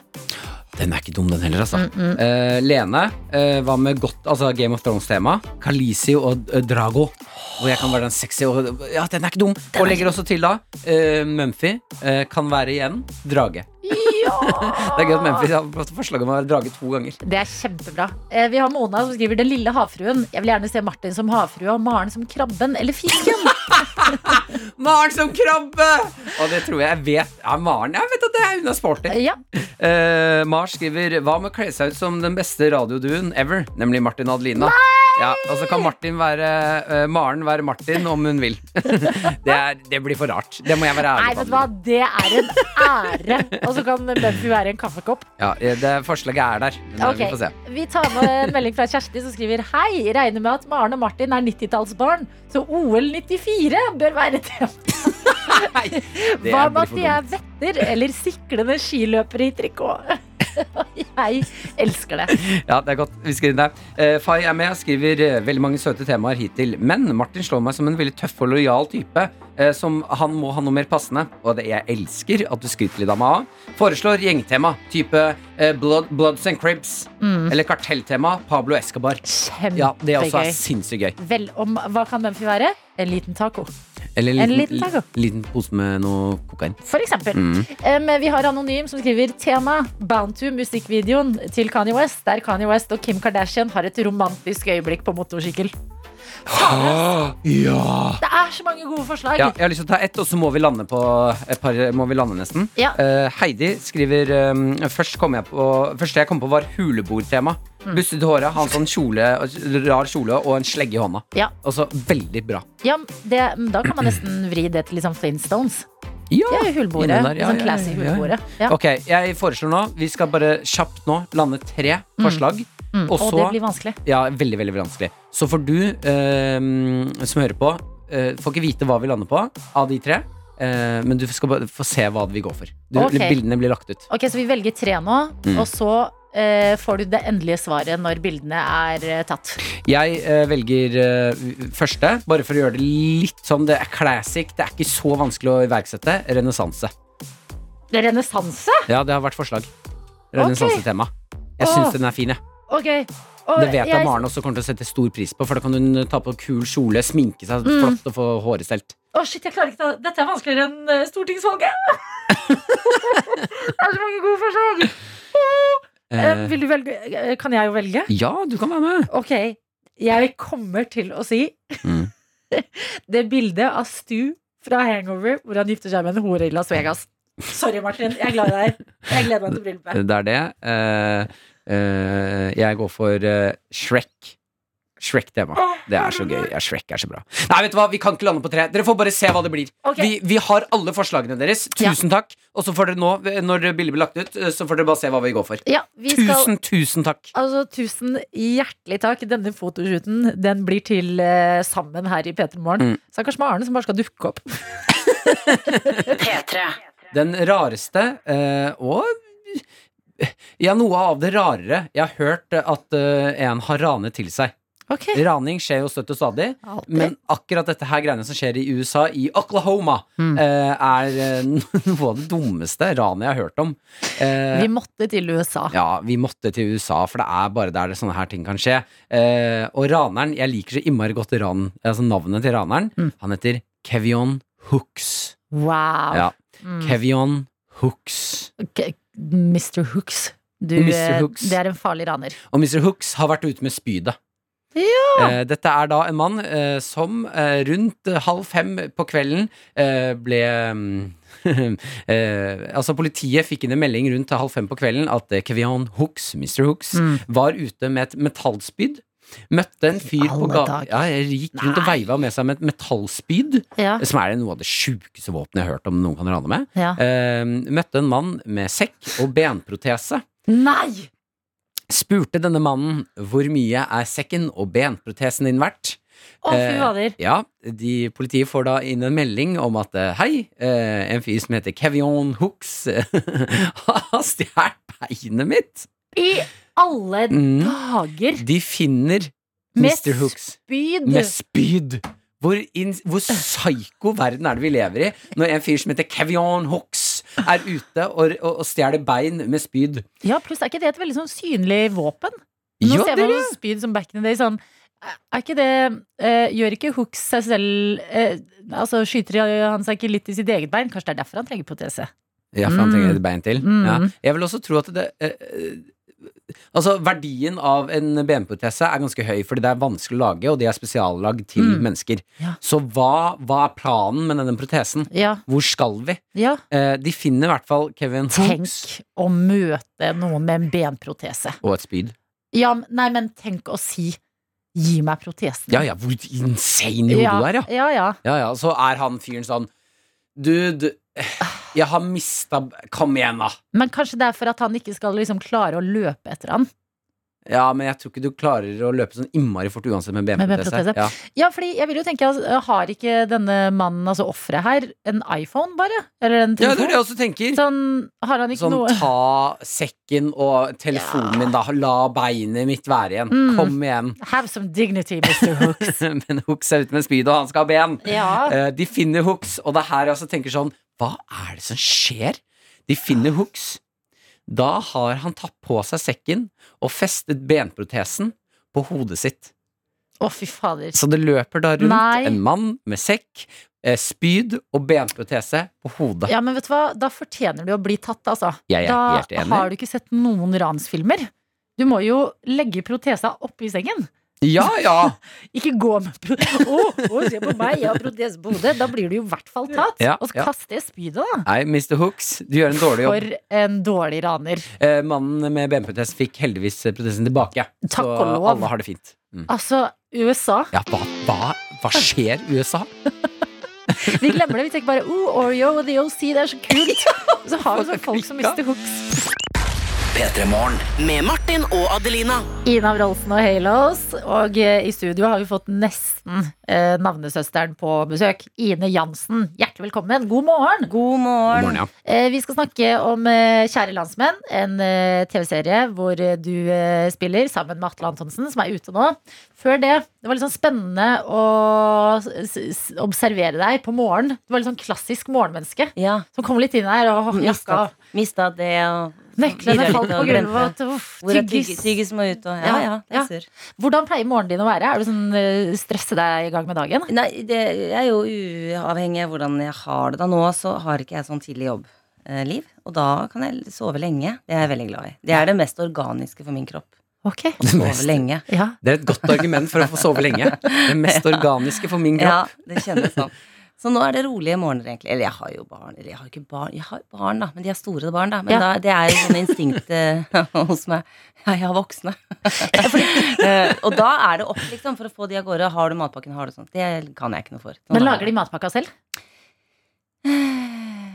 S3: Den er ikke dum, den heller, altså. Eh, Lene, eh, hva med godt, altså Game of Thrones-tema? Khaleesi og eh, Drago. Hvor jeg kan være den sexy og Ja, den er ikke dum! Og legger også til, da, eh, Mumphy eh, kan være igjen drage. det er gøy at Mumphy har fått forslag om å være drage to ganger.
S2: Det er kjempebra. Eh, Vi har Mona som skriver 'Den lille havfruen'. Jeg vil gjerne se Martin som havfrua og Maren som krabben eller fisken.
S3: Maren som krabbe! Og det tror jeg jeg vet. Ja, Maren, jeg vet at det er hun er sporty.
S2: Eh, Ja,
S3: Eh, Mars skriver Hva med å kle seg ut som den beste radioduen ever? Nemlig Martin og Adelina. Ja, og så kan Martin være eh, Maren være Martin om hun vil. det, er, det blir for rart. Det må jeg være
S2: Nei,
S3: ærlig
S2: vet du hva, det er en ære. Og så kan Bumpy være en kaffekopp.
S3: Ja, eh, det Forslaget er der. Men eh,
S2: Ok,
S3: Vi får se.
S2: Vi tar med en melding fra Kjersti som skriver Hei, regner med at Maren og Martin er 90-tallsbarn, så OL 94 bør være tema.
S3: Nei, det
S2: Hva med
S3: blir
S2: at
S3: for
S2: de
S3: dumt.
S2: er vetter eller siklende skiløpere i trikot? Jeg elsker det.
S3: Ja, det er godt. Vi skriver det. Eh, Fay er med. Skriver eh, veldig mange søte temaer hittil. Men Martin slår meg som en veldig tøff og lojal type. eh, som han må ha noe mer passende. Og det jeg elsker at du skryter litt av meg av. Foreslår gjengtema. Type eh, blood, Bloods and Cribs. Eller kartelltema. Pablo Escobar. Ja, det også
S2: Mm.
S3: er
S2: Kjempegøy.
S3: sinnssykt gøy.
S2: Vel, om, hva kan Mumphy være? En liten taco,
S3: Eller
S2: En liten taco.
S3: liten pose med noe kokain.
S2: for eksempel.
S3: Mm.
S2: Em, vi har Anonym som skriver tema Bound to musikkvideoen til Kanye West, der Kanye West og Kim Kardashian har et romantisk øyeblikk på motorsykkel. Det er så mange gode forslag.
S3: Ja, jeg har lyst til å ta ett, og så må vi lande på et par må vi lande nesten.
S2: Ja.
S3: Eh, Heidi skriver um, først kom jeg på, Første jeg kom på, var hulebordtema.
S2: Mm.
S3: Bustet håret, ha en sånn kjole, rar kjole og en slegge i hånda.
S2: Ja.
S3: Altså, veldig bra.
S2: Ja, det, da kan man nesten vri det til liksom Flintstones. Det er jo hullbordet.
S3: inne der, ja,
S2: sånn
S3: ja,
S2: classy
S3: ja, ja.
S2: hullbordet. Ja.
S3: Ok, jeg foreslår nå Vi skal bare kjapt nå lande tre forslag.
S2: Mm,
S3: Og
S2: og
S3: så
S2: det blir vanskelig.
S3: Ja, veldig, veldig vanskelig. Så får du eh, som hører på, eh, får ikke vite hva vi lander på av de tre. eh, men du skal bare få se hva vi går for. Du,
S2: Ok.
S3: Bildene blir lagt ut.
S2: Ok, Så vi velger tre nå,
S3: Mm.
S2: og så eh, får du det endelige svaret når bildene er eh, tatt.
S3: Jeg eh, velger eh, første, bare for å gjøre det litt sånn. Det er classic, det er ikke så vanskelig å iverksette. Renessanse.
S2: Renessanse?
S3: Ja, det har vært forslag. Renessansetema. Jeg
S2: Åh.
S3: syns den er fin, jeg.
S2: Ok. Og
S3: Det vet jeg Maren også kommer til å sette stor pris på, for da kan hun ta på kul kjole, sminke seg
S2: Mm.
S3: flott og få håret stelt.
S2: Å, shit, jeg klarer ikke ta Dette er vanskeligere enn eh, stortingsvalget! det er så mange gode forslag! Eh,
S3: Eh,
S2: vil du velge? eh, Kan jeg jo velge?
S3: ja, du kan være med.
S2: Ok, jeg kommer til å si
S3: Mm.
S2: det bildet av Stu fra Hangover hvor han gifter seg med en hore i Las Vegas. Sorry, Martin. Jeg er glad i deg. Jeg gleder meg til bryllupet.
S3: Det er det. Eh, eh, jeg går for eh, Shrek. Shrek-tema. Det er så gøy. Ja, Shrek er så bra. Nei, vet du hva, vi kan ikke lande på tre. Dere får bare se hva det blir.
S2: Ok.
S3: Vi, vi har alle forslagene deres.
S2: Ja.
S3: Tusen takk. Og så får dere nå, når bildet blir lagt ut, eh, så får dere bare se hva vi går for.
S2: Ja, vi skal
S3: Tusen, tusen takk.
S2: Altså, Tusen hjertelig takk. Denne fotoshooten den blir til eh, sammen her i P3 Morgen.
S3: Mm.
S2: Stakkars Maren som bare skal dukke opp.
S5: P3.
S3: Den rareste eh, og ja, noe av det rarere. Jeg har hørt at eh, en har ranet til seg.
S2: Ok,
S3: Raning skjer jo støtt og stadig.
S2: Alltid.
S3: Men akkurat dette her greiene som skjer i USA, i Oklahoma, eh, er eh, noe av det dummeste ranet jeg har hørt om. Eh,
S2: Vi måtte til USA.
S3: ja, vi måtte til USA, for det er bare der det sånne her ting kan skje. Eh, og raneren, jeg liker så innmari godt ran, altså navnet til raneren. Han heter Kevion Hooks.
S2: Wow. Mm.
S3: Ja,
S2: Hmm.
S3: Kevion Hooks.
S2: Ok, Mr. Hooks. Du,
S3: Mr.
S2: eh,
S3: Hooks.
S2: Det er en farlig raner.
S3: Og Mr. Hooks har vært ute med spydet. Eh, dette er da en mann eh, som eh, rundt eh, halv fem på kvelden eh, ble mm, eh, altså Politiet fikk inn en melding
S2: Mm.
S3: Mm. rundt halv fem på kvelden at eh, Kevian Hooks, Mr. Hooks, var ute med et metallspyd. Møtte en fyr på
S2: alle
S3: gata
S2: dager.
S3: ja, jeg Gikk rundt og veiva med seg med et metallspyd,
S2: Ja.
S3: som er noe av det sjukeste våpenet jeg har hørt om noen kan rane med.
S2: Ja.
S3: Eh, møtte en mann med sekk og benprotese.
S2: Nei!
S3: Spurte denne mannen hvor mye er sekken og benprotesen din verdt.
S2: Å, fy
S3: Eh,
S2: fader.
S3: Ja, de, Politiet får da inn en melding om at eh, hei, eh, en fyr som heter Kevion Hooks har stjålet beinet mitt.
S2: I alle
S3: Mm.
S2: dager!
S3: De finner
S2: Med
S3: Mr. Hooks
S2: spyd!
S3: med spyd. Hvor, inn- hvor psyko verden er det vi lever i når en fyr som heter Kevion Hooks er ute og, og, og stjeler bein med spyd?
S2: Ja, pluss er ikke det et veldig sånn synlig våpen? Nå
S3: Ja,
S2: ser
S3: det
S2: man
S3: er
S2: jo spyd som back in the day sånn er ikke det, eh, Gjør ikke Hooks seg selv eh, Altså Skyter han seg ikke litt i sitt eget bein? Kanskje det er derfor han trenger protese?
S3: Ja, for han
S2: Mm.
S3: trenger et bein til.
S2: Mm.
S3: Ja. Jeg vil også tro at det eh, eh, Altså, verdien av en benprotese er ganske høy, fordi det er vanskelig å lage, og de er spesiallagd til
S2: Mm.
S3: mennesker.
S2: Ja.
S3: Så hva, hva er planen med denne protesen?
S2: Ja,
S3: Hvor skal vi?
S2: ja.
S3: Eh, de finner i hvert fall Kevin
S2: Tenk
S3: Hooks
S2: å møte noen med en benprotese.
S3: og et spyd.
S2: Ja, men- nei, men tenk å si 'gi meg protesen'.
S3: Ja ja, hvor insane i hodet du er, ja.
S2: ja, ja.
S3: ja ja. Så er han fyren sånn Dude, jeg har mista Kom igjen, da.
S2: Men kanskje det er for at han ikke skal liksom klare å løpe etter han.
S3: Ja, men jeg tror ikke du klarer å løpe sånn innmari fort uansett med
S2: Med
S3: benprotese.
S2: benprotese.
S3: Ja.
S2: Ja, fordi jeg vil jo tenke, altså, har ikke denne mannen, altså offeret her, en iPhone bare? Eller en
S3: ja, det er
S2: telefon?
S3: det jeg også tenker.
S2: Sånn, har han ikke
S3: Sånn,
S2: noe
S3: ta sekken og telefonen min, da. La beinet mitt være igjen.
S2: Mm.
S3: Kom igjen.
S2: Have some dignity, Mr. Hooks.
S3: Men Hooks er ute med spyd, og han skal ha ben.
S2: ja.
S3: Eh, De finner Hooks, og det er her jeg også tenker sånn Hva er det som skjer? De finner Hooks. Da har han tatt på seg sekken og festet benprotesen på hodet sitt.
S2: Å, fy fader.
S3: Så det løper da rundt
S2: Nei.
S3: en mann med sekk, eh, spyd og benprotese på hodet.
S2: Ja, men vet du hva? Da fortjener du å bli tatt, altså.
S3: Jeg er
S2: da
S3: helt enig.
S2: har du ikke sett noen ransfilmer. Du må jo legge protesa oppi sengen.
S3: Ja, ja!
S2: Ikke gå med pro... Å, å, se på meg, jeg har protese på hodet. Da blir du jo i hvert fall tatt.
S3: Ja,
S2: og så
S3: ja.
S2: kaster jeg spydet, da.
S3: Nei, Mr. Hooks, du gjør en dårlig jobb.
S2: For en dårlig raner.
S3: Eh, mannen med benprotest fikk heldigvis protesen tilbake.
S2: Takk
S3: så
S2: og lov.
S3: alle har det fint. Mm.
S2: Altså, USA.
S3: Ja, hva, hva, hva skjer i USA?
S2: Vi glemmer det. Vi tenker bare oh, Oreo og The OC, det er så kult. Og så har vi sånne folk som mister hooks.
S5: Med Martin og Adelina.
S2: Ina Wroldsen og Halos. Og eh, i studio har vi fått nesten eh, navnesøsteren på besøk. Ine Jansen. Hjertelig velkommen. God morgen.
S7: God morgen.
S3: Morgen, ja.
S2: Eh, vi skal snakke om eh, Kjære landsmenn, en eh, TV-serie hvor eh, du eh, spiller sammen med Atle Antonsen, som er ute nå. Før det, det var litt sånn spennende å s s observere deg på morgenen. Du var litt sånn klassisk morgenmenneske
S7: Ja,
S2: som kom litt inn her og jakka.
S7: mista, mista det og
S2: Nøklene
S7: Videre
S2: falt
S7: litt
S2: på
S7: og
S2: gulvet.
S7: glemte.
S2: og tuff,
S7: Hvor er
S2: tyggis.
S7: tyggis, tyggis må ut og Ja,
S2: Ja,
S7: ja.
S2: ja.
S7: jeg ser.
S2: Hvordan pleier morgenen din å være? Er du sånn eh, stresse deg i gang med dagen?
S7: Nei, det jeg er jo uavhengig av hvordan jeg har det da nå, så har ikke jeg sånn tidlig jobbliv. Og da kan jeg sove lenge. Det er jeg veldig glad i. Det er det mest organiske for min kropp.
S2: Ok.
S7: Å sove
S3: mest-
S7: lenge.
S2: Ja.
S3: Det er et godt argument for å få sove lenge. Det mest organiske for min
S7: Ja,
S3: kropp.
S7: det kjennes sånn. Så nå er det rolige morgener, egentlig. Eller jeg har jo barn. Eller jeg har ikke barn. Jeg har barn, da. Men de er store barn, da. Men
S2: Ja.
S7: da, det er jo sånn instinkt eh, hos meg. Ja, jeg har voksne. Eh, og da er det opp, liksom, for å få de av gårde. Har du matpakken, har du sånt. Det kan jeg ikke noe for.
S2: Men lager de matpakka selv?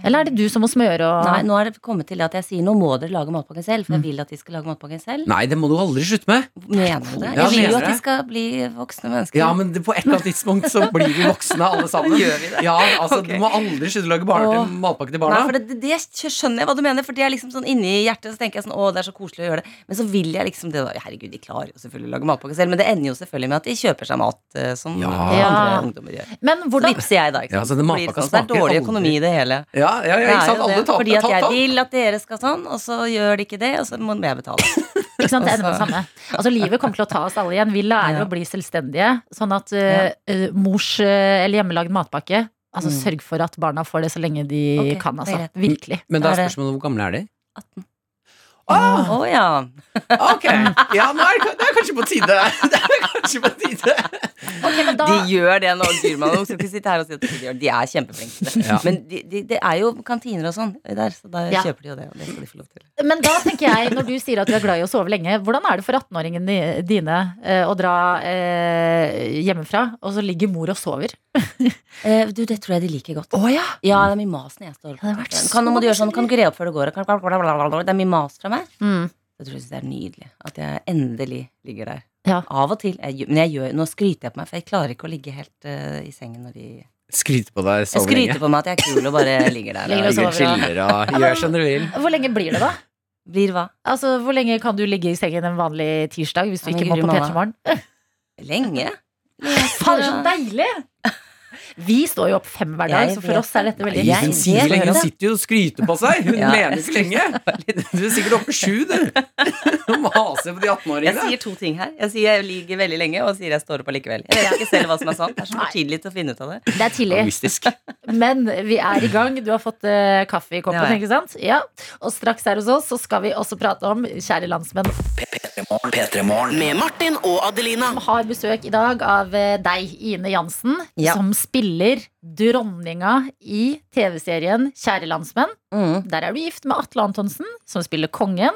S2: Eller er det du som må smøre og
S7: Nei, nå er det kommet til at jeg sier nå må dere lage matpakken selv, for jeg vil at de skal lage matpakken selv.
S3: Nei, det må du aldri slutte med.
S7: Mener du det?
S3: Ja,
S7: Jeg vil
S3: mener
S7: jo at
S3: det.
S7: de skal bli voksne mennesker.
S3: Ja, men det, på et eller annet tidspunkt så blir vi voksne alle sammen. Gjør vi det? Ja, altså,
S7: Ok.
S3: Du må aldri slutte å lage barne
S7: Åh.
S3: til matpakke til
S7: Nei, for
S3: barna.
S7: det, det skjønner jeg hva du mener, for det er liksom sånn inni hjertet. Så tenker jeg sånn, å, det er så koselig å gjøre det. Men så vil jeg liksom det da. Herregud, de klarer jo selvfølgelig å lage matpakke selv, men det ender jo selvfølgelig med at de kjøper seg mat, eh, som
S3: Ja.
S7: andre
S2: Ja.
S7: ungdommer gjør.
S2: Men
S7: Så
S2: hvordan
S7: lipser jeg da, ikke
S3: Ja, så det
S7: Blir
S3: matpakka
S7: sånn, så det er
S3: smaker
S7: dårlig
S3: aldri.
S7: økonomi i det hele.
S3: Ja, ja, ja,
S7: Det
S3: ikke
S7: er
S3: sant?
S7: jo
S3: Alle
S7: det,
S3: taper.
S7: fordi at jeg
S3: taper.
S7: vil at dere skal sånn, og så gjør de ikke det, og så må må jeg betale.
S2: ikke sant, ender med det samme. Altså, livet kommer til å ta oss alle igjen. Vi lærer
S7: Ja.
S2: å bli selvstendige. Sånn at eh, eh, mors eh, eller hjemmelagd matpakke Altså
S7: Mm.
S2: Sørg for at barna får det så lenge de
S7: Ok,
S2: kan.
S7: det er
S2: altså
S7: greit.
S2: Virkelig.
S3: Men da er
S7: Er det-
S3: spørsmålet hvor gamle er de?
S7: 18. Å ja.
S6: Ok, ja, nå er det, det er kanskje på tide. Det er kanskje på tide.
S2: Ok, men da,
S7: De gjør det nå, Gurman. Hun skal ikke sitte her og si at de ikke gjør det. De er kjempeflinke til det.
S3: Ja.
S7: Men det de, det er jo kantiner og sånn der, så da
S2: Ja.
S7: kjøper de jo det. Og det skal de få lov til.
S2: men da tenker jeg, når du sier at du er glad i å sove lenge, hvordan er det for 18-åringen di- dine eh, å dra eh, hjemmefra, og så ligger mor og sover?
S7: Eh, du, det tror jeg de liker godt.
S2: Å ja!
S7: Ja, det er mye mas når jeg står
S2: Det hadde vært så
S7: Kan, nå må du gjøre sånn, kan du ikke re opp før du går? Kan- Det er mye mas fra meg.
S2: Mm.
S7: Jeg tror jeg synes det er nydelig at jeg endelig ligger der.
S2: Ja.
S7: Av og til. Jeg, gjør- men jeg gjør, nå skryter jeg på meg, for jeg klarer ikke å ligge helt eh, i sengen når de
S3: Skryte på deg
S7: Jeg
S3: så
S7: skryter
S3: lenge.
S7: på meg at jeg er kul og bare ligger der.
S2: Ligger og
S7: og-
S2: sover.
S3: Ligger og chiller og gjør som du vil.
S2: Hvor lenge blir det, da?
S7: Blir hva?
S2: Altså, Hvor lenge kan du ligge i sengen en vanlig tirsdag hvis du
S7: Ja, men
S2: ikke må
S7: Guri
S2: på
S7: malla.
S2: P3 Morgen?
S7: Lenge?
S2: Fader, så deilig! Vi står jo opp fem hver dag,
S7: Jeg
S2: så
S7: vet
S2: for oss er dette veldig
S7: det. Jeg-
S3: Hun sier så lenge, hun sitter jo og skryter på seg. Hun
S7: Ja.
S3: mener ikke lenge. Du er sikkert oppe sju, du. Hun maser på de
S7: Jeg
S3: 18-åringene.
S7: sier to ting her. Jeg sier jeg ligger veldig lenge, og sier jeg står opp allikevel. Jeg vet ikke selv hva som er sant. Det er så for tidlig til å finne ut av det.
S2: Det er tidlig,
S3: Mystisk.
S2: men vi er i gang. Du har fått eh, kaffe i koppen,
S7: Det har jeg.
S2: ikke sant? Ja. Og straks her hos oss så skal vi også prate om, kjære landsmenn,
S5: Med Martin og Adelina.
S2: har besøk i dag av eh, deg, Ine Jansen,
S7: Ja.
S2: som spiller dronninga i TV-serien Kjære landsmenn.
S7: Mm.
S2: Der er du gift med Atle Antonsen, som spiller kongen.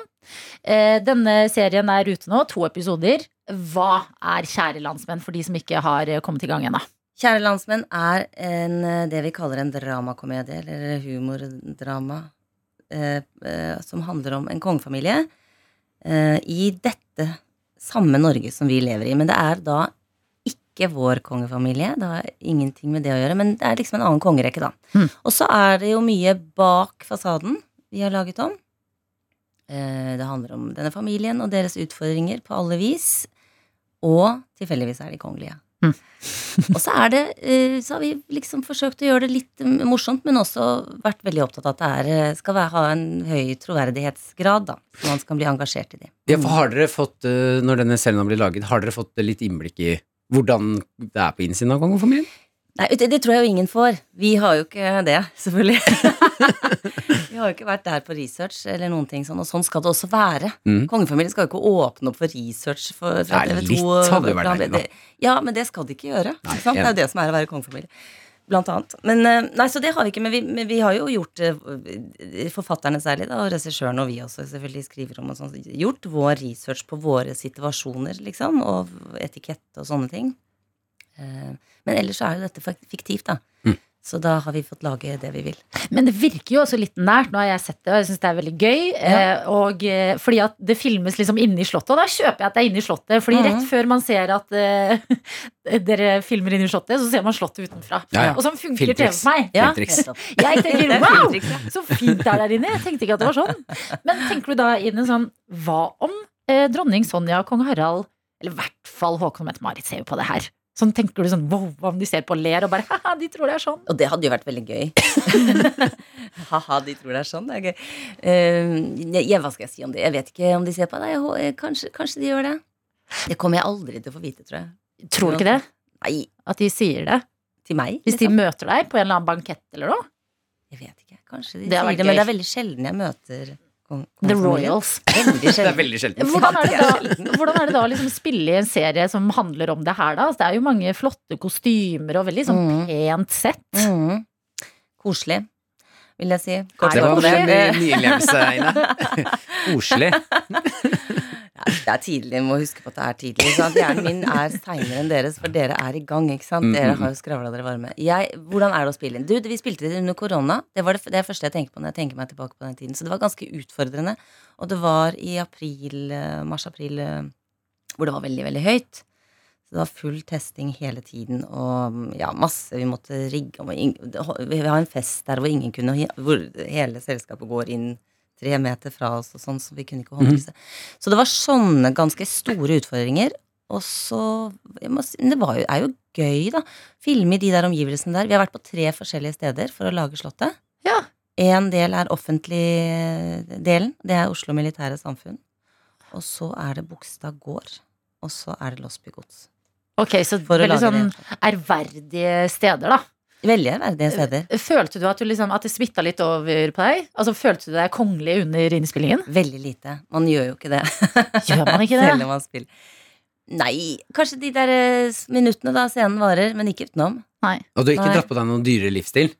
S2: Eh, Denne serien er ute nå, to episoder. Hva er Kjære landsmenn, for de som ikke har eh, kommet i gang ennå?
S7: Kjære landsmenn er en, eh, det vi kaller en dramakomedie, eller humordrama, eh, eh, som handler om en kongefamilie eh, i dette samme Norge som vi lever i. Men det er da ikke vår kongefamilie. Det har ingenting med det å gjøre, men det er liksom en annen kongerekke, da.
S2: Mm.
S7: Og så er det jo mye bak fasaden vi har laget om. Eh, Det handler om denne familien og deres utfordringer på alle vis. Og tilfeldigvis er de kongelige. Og så, er det, eh, så har vi liksom forsøkt å gjøre det litt eh, morsomt, men også vært veldig opptatt av at det er, eh, skal være, ha en høy troverdighetsgrad, da. Så man skal bli engasjert i det.
S3: Ja, for har dere fått, eh, når denne serien har blitt laget, har dere fått litt innblikk i hvordan det er på innsiden av kongefamilien?
S7: Nei, det, det tror jeg jo ingen får. Vi har jo ikke det, selvfølgelig. vi har jo ikke vært der på research eller noen ting sånn, og sånn skal det også være.
S3: Mm.
S7: Kongefamilien skal jo ikke åpne opp for research for,
S3: Nei,
S7: fra TV 2.
S3: litt hadde jo vært deilig, da.
S7: Ja, men det skal de ikke gjøre.
S3: Nei,
S7: ikke sant? Det er
S3: enig.
S7: jo det som er å være kongefamilie. Blant annet. Men, eh, nei, så det har vi ikke, men vi, men vi har jo gjort, eh, forfatterne særlig, da, og regissøren og vi også selvfølgelig skriver om og sånn, gjort vår research på våre situasjoner, liksom, og etikette og sånne ting. Eh, Men ellers så er jo dette fak- fiktivt, da.
S3: Mm.
S7: Så da har vi fått lage det vi vil.
S2: Men det virker jo også litt nært. Nå har jeg sett det, og jeg syns det er veldig gøy. Eh, og, eh, fordi at det filmes liksom inne i Slottet, og da kjøper jeg at det er inne i Slottet. Fordi
S7: Mhm.
S2: rett før man ser at eh, dere filmer inne i Slottet, så ser man Slottet utenfra.
S3: Ja, ja.
S2: Og sånn funker TV
S3: Filmtriks.
S2: for meg. Ja.
S3: Filmtriks.
S7: Nettopp.
S2: Jeg tenker
S7: Det er
S2: wow,
S7: filmtriks, ja.
S2: så fint det er der inne. Jeg tenkte ikke at det var sånn. Men tenker du da inn en sånn hva om eh, dronning Sonja og kong Harald, eller i hvert fall Håkon Mette-Marit ser jo på det her. Sånn tenker du sånn wow, hva om de ser på og ler og bare haha, de tror det er sånn.
S7: Og det hadde jo vært veldig gøy. Haha, de tror det er sånn. Det er gøy. Eh, jeg, jeg- hva skal jeg si om det? Jeg vet ikke om de ser på deg. Jeg hå- eh, Kanskje, kanskje de gjør det. Det kommer jeg aldri til å få vite, tror jeg.
S2: Tror du ikke det?
S7: Nei,
S2: At de sier det?
S7: til meg?
S2: Hvis de
S7: liksom.
S2: møter deg på en eller annen bankett eller noe?
S7: Jeg vet ikke. Kanskje de
S2: Det hadde
S7: sier
S2: vært
S7: det, men det
S2: gøy.
S7: er veldig sjelden jeg møter kong-
S2: The
S7: kongefamilien.
S2: Royals.
S7: Veldig
S3: Det er
S7: sjelden.
S3: veldig sjelden.
S2: Hvordan er det da, hvordan er det da å liksom spille i en serie som handler om det her, da? Altså, det er jo mange flotte kostymer og veldig sånn
S7: Mhm.
S2: pent sett.
S7: Mhm. Koselig, vil jeg si. Kort
S2: det
S3: Det
S7: om
S3: var
S2: koselig?
S3: en ny- nyinnlevelse, Ine. Koselig.
S7: Ja, Det er tidlig, må huske på at det er tidlig. Sant? Hjernen min er seinere enn deres, for dere er i gang. ikke sant? Dere har jo skravla dere varme. Jeg, hvordan er det å spille inn? Du, Vi spilte det under korona. Det var det, f- det er det første jeg tenker på når jeg tenker meg tilbake på den tiden. Så det var ganske utfordrende. Og det var i april, eh, mars-april, eh, hvor det var veldig, veldig høyt. Så det var full testing hele tiden, og mm, ja, masse vi måtte rigge om. og ing- Vi har en fest der hvor ingen kunne Hvor hele selskapet går inn tre meter fra oss og sånn, så vi kunne ikke håndtere det. Så det var sånne ganske store utfordringer. Og så jeg må si, men Det var jo, er jo gøy, da. Filme i de der omgivelsene der. Vi har vært på tre forskjellige steder for å lage Slottet.
S2: Ja.
S7: En del er offentlig eh, delen. Det er Oslo Militære Samfunn. Og så er det Bogstad gård. Og så er det Losby gods.
S2: Ok, så
S7: For å
S2: veldig
S7: lage
S2: sånn
S7: det.
S2: ærverdige steder, da. Eh,
S7: Veldig ærverdige steder.
S2: Følte du at, du liksom, at det smitta litt over på deg? Altså, Følte du deg kongelig under innspillingen?
S7: Veldig lite. Man gjør jo ikke det.
S2: Gjør man ikke
S7: Selv
S2: det?
S7: om man spiller. Nei, kanskje de der eh, minuttene da scenen varer, men ikke utenom.
S3: Og du har ikke
S7: Nei.
S3: dratt på deg noen dyrere livsstil?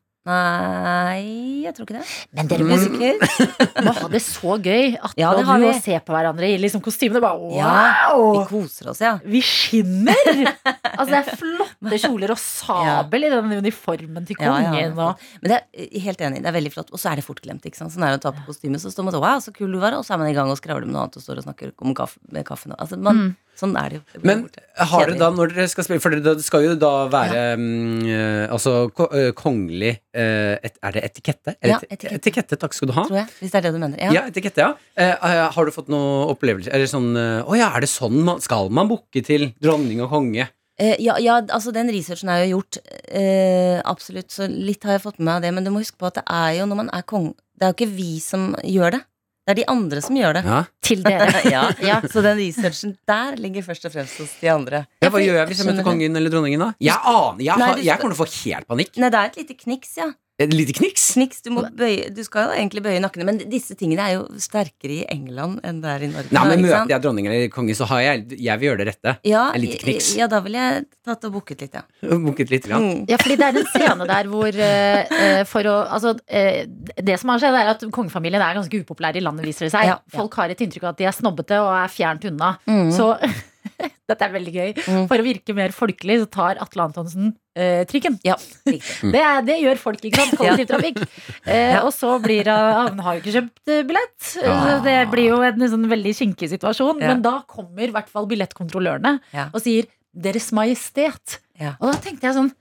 S7: Nei, jeg tror ikke det.
S2: Men dere må,
S7: Musiker?
S2: må ha det så gøy at
S7: Mm.
S2: ja,
S7: Ja, det har
S2: du
S7: vi.
S2: og ser på hverandre i liksom kostymene. Bare,
S7: Ja,
S2: wow!
S7: Vi koser oss, ja.
S2: Vi skinner! altså, det er flotte kjoler og sabel i den uniformen til
S7: Ja, ja,
S2: kongen.
S7: det er flott.
S2: og,
S7: Men det er eh, helt enig, det er veldig flott. Og så er det fort glemt. ikke sant? Sånn er det å ta på kostyme, så står man sånn Wow, så kul du var. Og så er man i gang og skravler med noe annet og står og snakker om kaffe, med kaffen. og- Altså, man, Sånn er det jo. Det blir
S3: Men
S7: borte.
S3: har dere
S7: Kjedelig.
S3: da, når dere skal spille For dere da- det skal jo da være mm, eh, Altså ko- eh, kongelig eh, et, Er det etikette? Eller
S7: Ja,
S3: et-
S7: etikette.
S3: etikette. Takk skal du ha.
S7: Tror jeg. Hvis det er det du mener. Ja.
S3: Ja, etikette, ja. Eh, eh, har du fått noen opplevelser Eller sånn eh, Å ja, er det sånn man Skal man booke til dronning og konge?
S7: Eh, ja, ja, altså den researchen er jo gjort. Eh, absolutt. Så litt har jeg fått med meg av det. Men du må huske på at det er jo når man er kong Det er jo ikke vi som gjør det. Det er de andre som gjør det.
S3: Ja.
S2: til dere.
S7: ja, Så den researchen der ligger først og fremst hos de andre.
S3: Ja, hva gjør jeg hvis jeg møter
S7: Skjønner du?
S3: kongen eller dronningen, da? Jeg aner, jeg,
S7: Nei,
S3: har-
S7: du
S3: jeg
S7: skal-
S3: kommer til å få helt panikk.
S7: Nei, det er et lite kniks, ja.
S3: Et lite kniks.
S7: Kniks, du, må bøye, du skal jo egentlig bøye nakkene, men disse tingene er jo sterkere i England enn det er i Norge.
S3: Nei, men
S7: ikke sant?
S3: Møter jeg dronning eller konge, så har jeg Jeg vil gjøre det rette.
S7: ja,
S3: et lite kniks.
S7: Ja, da ville jeg tatt og booket litt, ja.
S3: Booket litt. Grann.
S7: Mm.
S2: Ja, fordi det er en scene der hvor eh, eh, for å, altså, eh, Det som har skjedd, er at kongefamilien er ganske upopulær i landet, viser det seg.
S7: Ja, ja.
S2: Folk har et inntrykk av at de er snobbete og er fjernt unna.
S7: Mm.
S2: Så dette er veldig gøy.
S7: Mm.
S2: For å virke mer folkelig så tar Atle Antonsen eh, trikken.
S7: Ja, riktig.
S2: Det, er, det gjør folk, ikke sant? Kollektivtrafikk. Eh, og så blir han Han har jo ikke kjøpt eh, billett. Så Det blir jo en sånn veldig kinkig situasjon.
S7: Ja.
S2: Men da kommer i hvert fall billettkontrollørene
S7: Ja.
S2: og sier 'Deres Majestet'.
S7: Ja.
S2: Og da tenkte jeg sånn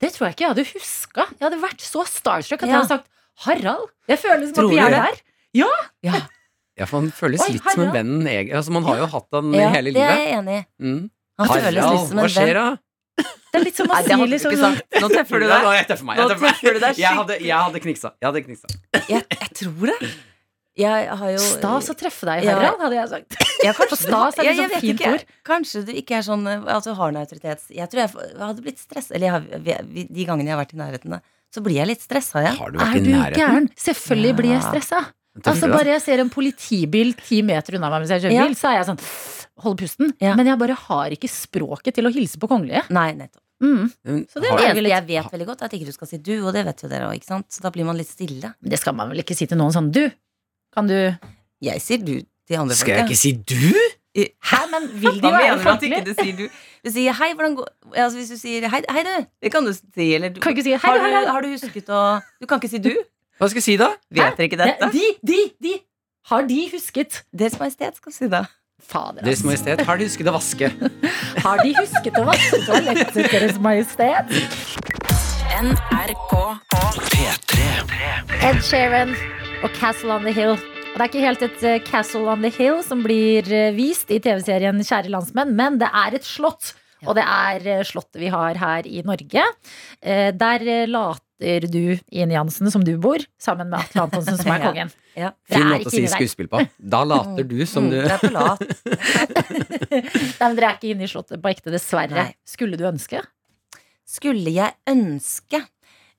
S2: Det tror jeg ikke jeg hadde huska. Jeg hadde vært så starstruck at jeg
S7: Ja.
S2: hadde sagt 'Harald'. Det føles som
S7: Tror
S2: at vi
S7: du
S2: er
S7: det?
S2: der.
S7: Ja,
S3: Ja, for han føles
S2: Oi,
S3: litt som en
S2: herre.
S3: venn. egen- Altså, man har jo hatt han
S7: ja
S3: hele
S7: det er
S3: livet.
S7: jeg enig i.
S3: Mm.
S7: Han føles litt
S3: hva
S7: som en
S3: skjer
S7: venn.
S3: da?
S2: Det er litt som å
S7: Nei, det
S2: si
S7: hadde du
S2: liksom
S7: ikke sagt. Nå treffer
S3: Nei,
S7: du deg.
S3: nå, jeg treffer meg. Jeg,
S7: Nå
S3: treffer meg.
S7: treffer du deg
S3: jeg, hadde, jeg hadde kniksa. Jeg hadde kniksa.
S7: Jeg, jeg tror det. Jeg har jo
S2: Stas å treffe deg,
S7: Ja.
S2: Harald, hadde jeg sagt.
S7: Ja,
S2: For stas er
S7: Ja,
S2: liksom
S7: jeg vet
S2: fint
S7: ikke.
S2: ord.
S7: Kanskje du ikke er sånn eh, Altså har en autoritet. Jeg tror jeg f- hadde blitt stress Eller jeg har, vi- vi- de gangene jeg har vært i nærheten, da, så blir jeg litt stressa, jeg.
S3: Har
S2: Er du gæren? Selvfølgelig blir jeg
S7: Ja.
S2: stressa.
S3: Treffer
S2: Altså
S3: du deg?
S2: Bare jeg ser en politibil ti meter unna meg mens jeg kjører
S7: Ja.
S2: bil, så er jeg sånn Hold pusten.
S7: Ja.
S2: Men jeg bare har ikke språket til å hilse på kongelige.
S7: Nei, nettopp.
S2: Mm.
S3: Mm,
S2: Så det er jeg
S3: har-
S7: Det eneste
S2: litt
S7: jeg vet veldig godt, er at ikke du skal si du, og det vet jo dere òg, ikke sant? Så da blir man litt stille.
S2: Det skal man vel ikke si til noen sånn Du, kan du
S7: Jeg sier du til andre
S3: Skal jeg ikke si du?
S2: Hæ, men vil de være
S7: Hva mener du at ikke
S2: folkelige?
S7: du sier du? Du sier hei, hvordan går ja, altså, Hvis du sier hei, hei, du, det kan du si, eller du,
S2: Kan ikke si hei, du,
S7: har,
S2: hei,
S7: du,
S2: hei.
S7: har du husket å Du kan ikke si du.
S3: Hva skal jeg si da?
S7: Vet dere ikke dette?
S2: De, de, de! Har de husket?
S7: Deres Majestet skal si det.
S2: Fader,
S3: Deres
S2: altså.
S3: Majestet, har de husket å vaske?
S2: Har de husket å vaske toalettet, Deres Majestet?
S5: NRK.
S2: Ed Sheeran og Castle on the Hill. Og det er ikke helt et eh, Castle on the Hill som blir eh, vist i TV-serien Kjære landsmenn, men det er et slott. Og det er eh, slottet vi har her i Norge. Eh, Der eh, later du i Jansen, som du bor, sammen med Atle Antonsen, som er
S7: Ja.
S2: kongen.
S7: Ja.
S2: Det
S3: Fin
S2: er
S3: måte å
S2: ikke
S3: si
S2: inni der.
S3: skuespill på. Da later du som
S7: Mm,
S3: du
S7: Det er for lat.
S2: Nei, men dere er ikke inne i slottet på ekte, dessverre.
S7: Nei.
S2: Skulle du ønske?
S7: Skulle jeg ønske?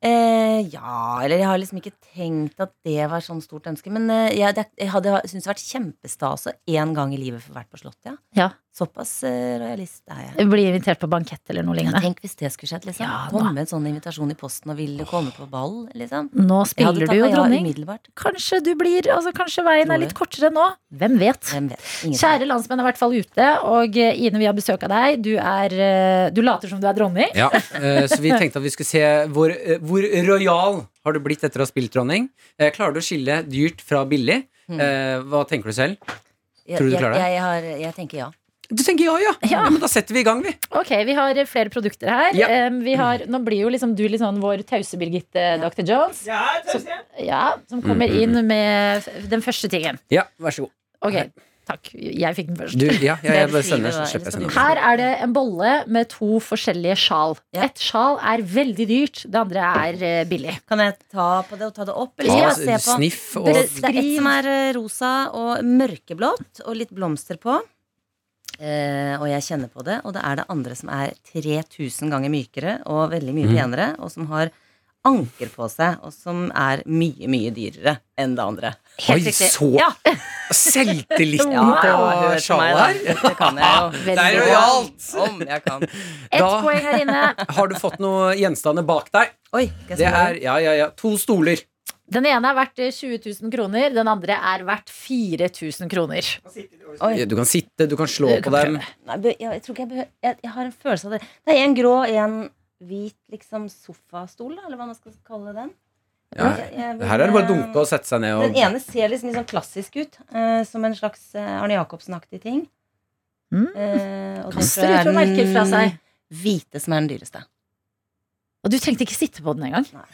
S7: Eh, ja, eller jeg har liksom ikke tenkt at det var sånn stort ønske. Men eh, jeg, det- jeg hadde syntes det hadde vært kjempestas å én gang i livet få vært på Slottet. Ja.
S2: Ja.
S7: Såpass eh, rojalist er jeg.
S2: Bli invitert på bankett eller noe
S7: Ja,
S2: lignende.
S7: tenk hvis det skulle skjedd. liksom
S2: Ja, da.
S7: Komme en sånn invitasjon i posten og ville komme på ball. liksom
S2: Nå
S7: Jeg hadde
S2: spiller du jo
S7: takket ja
S2: dronning.
S7: umiddelbart.
S2: Kanskje du blir, altså kanskje veien er litt kortere nå. Hvem vet?
S7: Hvem vet? Ingen vet.
S2: Kjære landsmenn er i hvert fall ute, og eh, Ine, vi har besøk av deg. Du, er, eh, du later som du er dronning.
S3: Ja, eh, så vi tenkte at vi skulle se hvor, eh, hvor royal har du blitt etter å ha spilt dronning. Eh, Klarer du å skille dyrt fra billig?
S7: Mm.
S3: Eh, Hva tenker du selv?
S7: Jeg-
S3: Tror du du
S7: jeg-
S3: klarer det?
S7: Jeg, har, jeg tenker ja.
S3: Du tenker ja, ja. ja. men da setter vi i gang, vi.
S2: Ok, vi har eh, flere produkter her.
S3: Ja.
S2: Eh, Vi har, nå blir jo liksom du litt sånn vår tause Birgitte Dr. Jones, ja, som kommer inn med f- den første tingen.
S3: Ja, vær så god.
S2: Ok, takk. Jeg fikk den først.
S3: Du, ja, jeg, jeg
S7: Det
S3: bare
S7: beskriver
S3: sender,
S7: hva-
S3: så slipper jeg
S7: eller
S3: sende.
S7: skal
S2: Her er det en bolle med to forskjellige sjal.
S7: Ja.
S2: Et sjal er veldig dyrt, det andre er eh, billig.
S7: Kan jeg ta på det og ta det opp? Eller skal
S3: Ja,
S7: jeg bare se på?
S3: sniff og
S7: Det,
S2: Best-
S7: det er et som er eh, rosa og mørkeblått og litt blomster på. Eh, og jeg
S3: Mm.
S7: kjenner på det. Og det er det andre som er 3000 ganger mykere og veldig mye penere, og som har anker på seg, og som er mye, mye dyrere enn det andre.
S3: Oi, så
S7: Ja,
S3: Selvtillit
S7: ja,
S3: og
S7: hør til
S3: sjal
S7: meg, da.
S3: her.
S7: Det kan jeg jo.
S3: Mm. Det er
S2: Veldig bra.
S3: rojalt!
S7: Om jeg kan.
S2: Ett
S3: Da-
S2: poeng her inne.
S3: Har du fått noen gjenstander bak deg?
S7: Oi, skal jeg
S3: Det
S7: smøre?
S3: er ja, ja, ja. to stoler.
S2: Den ene er verdt eh, 20 000 kroner, den andre er verdt 4000 kroner.
S7: Oi.
S3: Du kan sitte, du kan slå
S2: Du
S3: på
S2: kan
S3: dem.
S7: Nei, jeg, jeg tror ikke jeg behøver jeg, jeg har en følelse av det. Det er en grå, en hvit liksom sofastol, da, eller hva man skal kalle den.
S3: Ja.
S7: Jeg- jeg vil- eh,
S3: Her er det bare å dunke og sette seg ned
S7: Den
S3: og
S7: ene ser liksom litt sånn klassisk ut, eh, som en slags eh, Arne Jacobsen-aktig ting.
S2: Mm.
S7: Eh, og den
S2: Kaster
S7: tror jeg
S2: ut og
S7: er den
S2: merker fra seg.
S7: Hvite som er den dyreste.
S2: Og du trengte ikke sitte på den engang.
S7: Nei.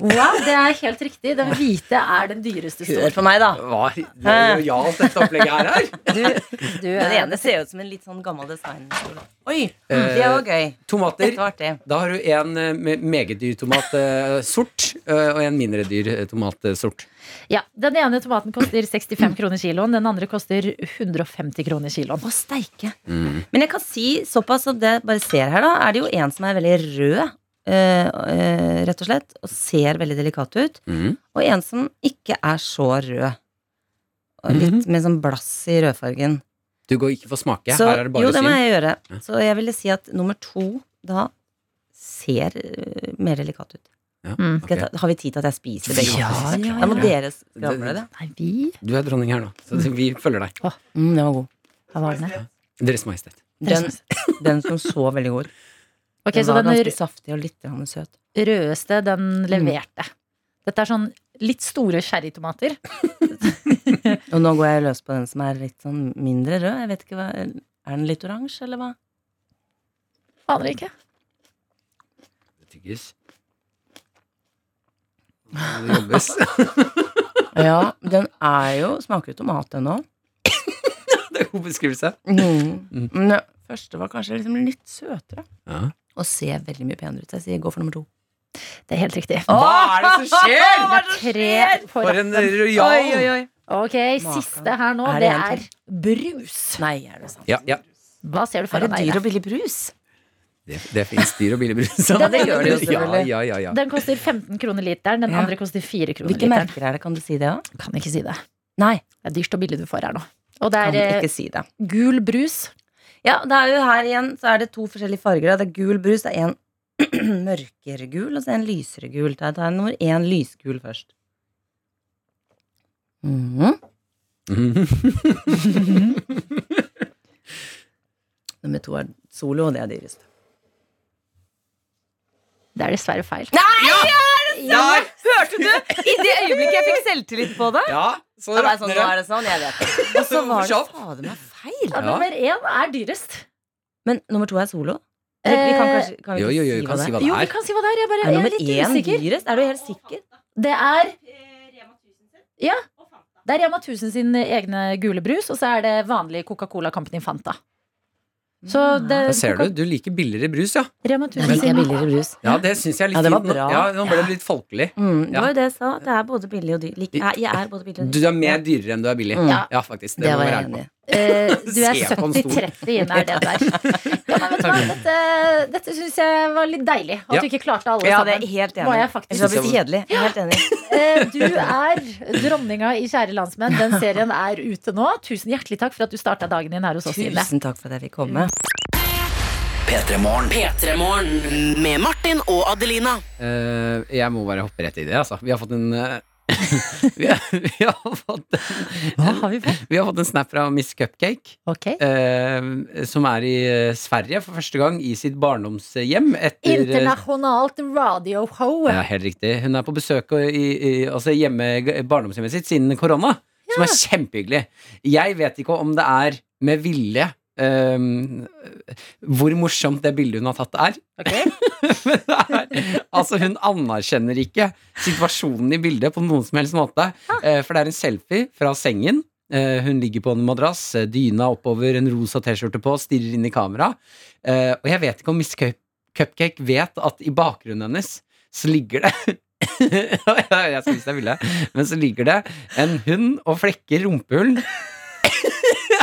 S2: Wow, det er helt riktig. Den hvite er den dyreste
S7: Hør
S2: stolen.
S7: på meg, da.
S3: Hva er det er rojalt dette opplegget her er?
S2: Du, du
S7: Den
S2: er
S7: ene ser ut som en litt sånn gammel designstol. Oi,
S3: Eh,
S7: det var gøy.
S3: Tomater.
S7: Dette var artig.
S3: Da har du en eh, med meget dyr tomat eh, sort, eh, og en mindre dyr eh, tomat eh, sort.
S2: Ja, Den ene tomaten koster 65 kroner kiloen, den andre koster 150 kroner kiloen.
S7: Å, steike.
S3: Mm,
S7: Men jeg kan si såpass som det bare ser her, da, er det jo en som er veldig rød, eh, eh, rett og slett, og ser veldig delikat ut,
S3: Mhm.
S7: og en som ikke er så rød. Og litt med sånn blass i rødfargen.
S3: Du går ikke for smake.
S7: så
S3: her er det bare
S7: jo, det må
S3: syn.
S7: jeg gjøre. Så jeg ville si at nummer to da ser eh, mer delikat ut.
S3: Ja,
S2: Mm.
S3: ok.
S7: Skal jeg ta, har vi tid til at jeg spiser begge?
S3: Ja, ja, ja.
S7: Da må dere skravle det.
S2: Nei, vi
S3: Du er dronning her nå, så det- vi følger deg.
S7: Mm, den var god.
S2: Hva var den? her?
S3: Deres Majestet.
S7: Den, den som så veldig god ut.
S2: Ok,
S7: Den
S2: Så
S7: var
S2: den
S7: ganske saftig og litt grann søt.
S2: rødeste, den leverte. Dette er sånn litt store sherrytomater.
S7: Og nå går jeg løs på den som er litt sånn mindre rød. Jeg vet ikke hva Er den litt oransje, eller hva?
S2: Aner ikke.
S3: Det tygges. Det jobbes.
S7: Ja, den er jo Smaker jo tomat, den òg.
S3: det er god beskrivelse.
S7: Men den første var kanskje liksom litt søtere.
S3: Ja.
S7: Og ser veldig mye penere ut. Så jeg sier gå for nummer to.
S2: Det er helt riktig.
S3: Hva er det som skjer?!
S2: Det er tre på
S3: For en
S2: rappen.
S3: rojal!
S2: Ok,
S7: Maken.
S2: siste her nå,
S7: Er det
S2: det
S7: en
S2: er brus.
S7: Nei, er det sant?
S3: Ja, ja.
S2: Hva ser du
S7: Er
S2: foran
S7: det
S2: deg?
S7: dyr
S2: der?
S7: og billig brus?
S3: Det, det fins dyr og billig brus.
S7: Ja, det gjør det jo selvfølgelig.
S3: Ja, ja, ja, ja.
S2: Den koster 15 kroner literen, den
S7: Ja.
S2: andre koster 4 kroner
S7: Hvilke
S2: literen.
S7: merker er det? Kan du si det òg?
S2: Kan ikke si det.
S7: Nei,
S2: Det er dyrt og billig du får her nå. Og det
S7: kan
S2: er eh,
S7: ikke si det.
S2: gul brus.
S7: Ja, det er jo her igjen så er det to forskjellige farger. da. Det er gul brus. Det er en mørkere gul, og så en lysere gul. Da tar jeg nummer én lysgul først. Mhm. Nummer to er solo, og det er dyrest.
S2: Det er dessverre feil.
S3: Der!
S7: Hørte du? I det øyeblikket jeg fikk selvtillit på det.
S3: Ja, så
S7: Da var jeg sånn,
S3: rakner
S7: nå
S3: det.
S7: er det sånn, jeg vet det. Og så var det
S3: Kjapt.
S7: fader meg feil.
S2: Ja, Nummer én er dyrest.
S7: Men nummer to er solo? Eller, vi kan kanskje kan vi
S3: Jo,
S7: ikke
S3: Eh, jo, jo,
S7: si
S3: vi
S7: hva
S3: kan si
S7: det er.
S3: hva
S2: Jo,
S3: det
S2: vi
S3: er.
S2: kan si hva det er. Jeg, bare,
S7: Er
S2: jeg er
S7: nummer
S2: litt
S7: én
S2: usikker.
S7: dyrest? Er du helt sikker?
S2: Det er Ja. Det er Rema 1000 sin egne gule brus, og så er det vanlig Coca-Cola Company Fanta. Så det,
S3: Da ser
S2: Coca-
S3: du, du liker billigere brus, ja.
S2: Rema
S7: Jeg
S2: 1000
S7: liker
S2: sin
S7: billigere brus.
S3: Ja, det syns jeg er litt
S7: Ja, det var
S3: fint. Nå-
S7: bra.
S3: Ja, nå ble det litt folkelig. Ja.
S7: Mm, det var jo det jeg sa. Det er både billig og dyr. Lik, Nei, jeg er både billig og
S3: Du
S7: dyr.
S3: er mer dyrere enn du er billig.
S7: Mm.
S3: Ja, faktisk.
S7: Det
S3: må
S7: var
S3: vi
S7: jeg
S3: være
S7: enig i.
S2: Eh, du er
S3: Se på en stol.
S2: 70-30 inn, er det du er. Ja, men vet du hva, dette dette syns jeg var litt deilig. At
S3: Ja.
S2: du ikke klarte alle
S7: Ja, det er
S2: sammen.
S7: jeg helt enig.
S2: Var jeg
S7: i.
S2: faktisk-
S7: Jeg synes det blir kjedelig. Jeg er Helt enig.
S2: Eh, Du er dronninga i Kjære landsmenn. Den serien er ute nå. Tusen hjertelig takk for at du starta dagen din her hos oss, Ine.
S7: Tusen takk for at jeg fikk komme.
S5: P3-morgen med Martin og Adelina.
S3: Eh, jeg må bare hoppe rett i det, altså. Vi har fått en eh, vi, har, vi, har fått,
S2: Hva har vi fått?
S3: vi har fått en snap fra Miss Cupcake,
S2: Ok.
S3: eh, som er i eh, Sverige for første gang i sitt barndomshjem etter eh,
S2: Internasjonalt radio-ho.
S3: Ja, helt riktig. Hun er på besøk i, i, altså hjemme i barndomshjemmet sitt siden korona, som er kjempehyggelig. Jeg vet ikke om det er med vilje ehm, hvor morsomt det bildet hun har tatt, er. Men det er altså, hun anerkjenner ikke situasjonen i bildet på noen som helst måte. Eh, for det er en selfie fra sengen. Eh, hun ligger på en madrass, eh, dyna oppover, en rosa T-skjorte på, stirrer inn i kamera. Eh, og jeg vet ikke om Miss Cup Cupcake vet at i bakgrunnen hennes så ligger det Jeg skal vise deg bildet. Men så ligger det en hund og flekker rumpehull.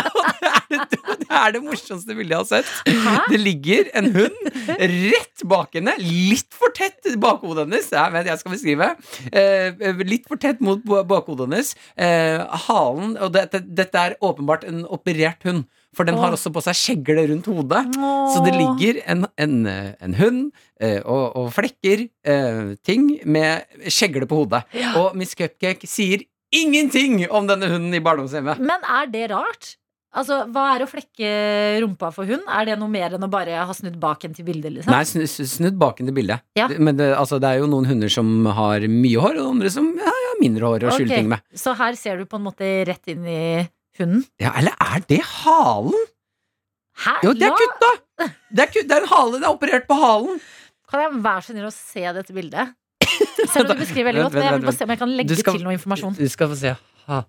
S3: Og det Det er det morsomste bildet jeg har sett. Det ligger en hund rett bak henne. Litt for tett bakhodet hennes. Jeg vet, jeg skal beskrive. Eh, litt for tett mot bo- bakhodet hennes. Eh, halen Og dette, dette er åpenbart en operert hund. For den har også på seg skjegle rundt hodet. Så det ligger en, en, eh, en hund eh, og, og flekker, eh, ting, med skjegle på hodet. Og Miss Cupcake sier ingenting om denne hunden i barndomshjemmet.
S2: Men er det rart? Altså, Hva er å flekke rumpa for hund? Er det noe mer enn å bare ha snudd baken til bildet? liksom?
S3: Nei, snu, snu- snudd baken til bildet.
S2: Ja.
S3: Det- Men det, altså, det er jo noen hunder som har mye hår, og andre som ja, ja, mindre hår og
S2: Ok.
S3: skylder ting med.
S2: Så her ser du på en måte rett inn i hunden?
S3: Ja, eller er det halen?
S2: Hæ?
S3: Jo, det er
S2: Ja,
S3: kutta! Det er, kutt, det er en hale, det er operert på halen.
S2: Kan jeg være så snill å se dette bildet? Selv om du beskriver veldig
S3: Vent,
S2: godt. Men
S3: vent,
S2: jeg
S3: vent,
S2: vil bare se om jeg kan
S3: Du
S2: legge
S3: skal-
S2: til noe informasjon.
S3: Du skal få se. Ha.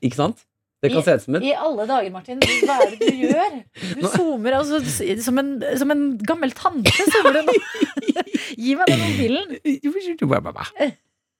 S3: Ikke sant? Det kan
S2: I-
S3: se ut som et
S2: I alle dager, Martin. Hva er det du gjør? Du
S3: Nå-
S2: zoomer altså, som, en, som en gammel tante. zoomer du nå. Gi meg den mobilen.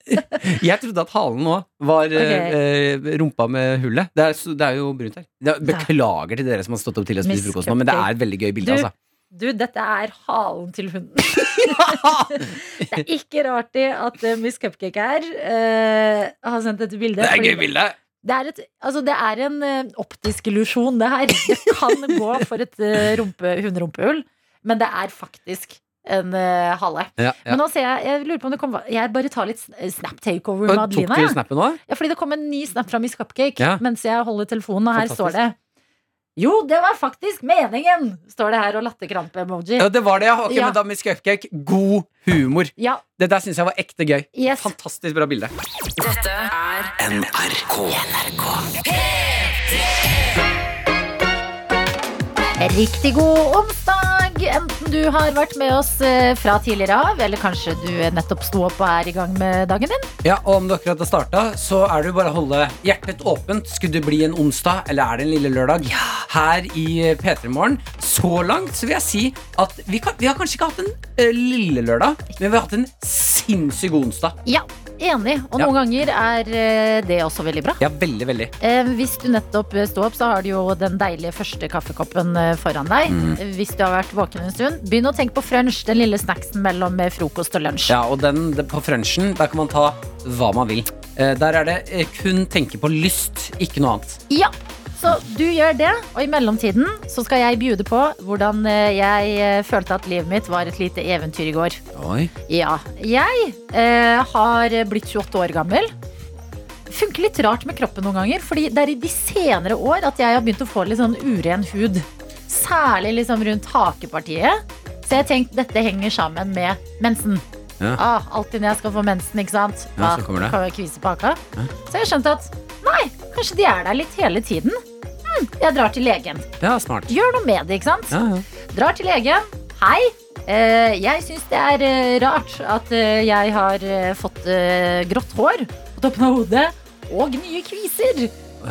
S3: Jeg trodde at halen nå var eh, eh, rumpa med hullet. Det er, så- det er jo brunt her. Det er, beklager til dere som har stått opp tidlig og spist
S2: Miss
S3: frokost nå, men det er et veldig gøy bilde,
S2: Du-
S3: altså.
S2: Du, dette er halen til hunden. Det er ikke rart i at eh, Miss Cupcake her eh, har sendt dette bildet.
S3: Det er et
S2: fordi
S3: gøy bilde!
S2: Det er, et, altså det er en eh, optisk illusjon, det her. Det kan gå for et eh, rumpe, hunderumpehull, men det er faktisk en eh, hale.
S3: Ja, ja.
S2: Men nå ser jeg, jeg lurer på om det kom Jeg bare tar litt sn- snap takeover
S3: Og
S2: med
S3: Tok
S2: Adelina.
S3: du
S2: Ja.
S3: snappen nå?
S2: Ja, fordi det kom en ny snap fra Miss Cupcake
S3: Ja.
S2: mens jeg holder telefonen, og her
S3: Fantastisk.
S2: står det Jo, det var faktisk meningen! Står det her, og latterkrampe-emoji.
S3: Ja, det var det, ja. Ok,
S2: Ja.
S3: men da Miss Cupcake, god humor.
S2: Ja,
S3: Det der syns jeg var ekte gøy.
S2: yes.
S3: Fantastisk bra bilde.
S2: Riktig god onsdag! Enten du har vært med oss eh, fra tidligere av, eller kanskje du nettopp sto opp og er i gang med dagen din.
S3: Ja, og om du akkurat har starta, så er det jo bare å holde hjertet åpent. Skulle du bli en onsdag, eller er det en lille lørdag? Her i P3 Morgen. Så langt så vil jeg si at vi, kan, vi har kanskje ikke hatt en eh, lille lørdag, men vi har hatt en sinnssyk god onsdag.
S2: Ja, enig. Og
S3: Ja.
S2: noen ganger er eh, det også veldig bra.
S3: Ja, veldig, veldig.
S2: Eh, Hvis du nettopp eh, sto opp, så har du jo den deilige første kaffekoppen eh, foran deg.
S3: Mm.
S2: Eh, Hvis du har vært våken en stund, begynn å tenke på frunch, den lille snacksen mellom eh, frokost og lunsj.
S3: Ja, og den det- på frunchen, der kan man ta hva man vil. Eh, Der er det eh, kun tenke på lyst, ikke noe annet.
S2: Ja, så du gjør det, og i mellomtiden så skal jeg bjude på hvordan eh, jeg eh, følte at livet mitt var et lite eventyr i går.
S3: Oi.
S2: Ja, jeg eh, har blitt 28 år gammel. Funker litt rart med kroppen noen ganger, fordi det er i de senere år at jeg har begynt å få litt sånn uren hud. Særlig liksom rundt hakepartiet. Så jeg tenkte dette henger sammen med mensen.
S3: Ja.
S2: Ah, alltid når jeg skal få mensen, ikke sant?
S3: Ja,
S2: Ah,
S3: så kommer det.
S2: kan jeg kvise på haka. Så jeg skjønte at nei, kanskje de er der litt hele tiden. Hm, jeg drar til legen.
S3: Ja, smart.
S2: Gjør noe med det, ikke sant?
S3: Ja, ja.
S2: Drar til legen. Hei. eh, jeg syns det er eh, rart at eh, jeg har eh, fått eh, grått hår på toppen av hodet og nye kviser.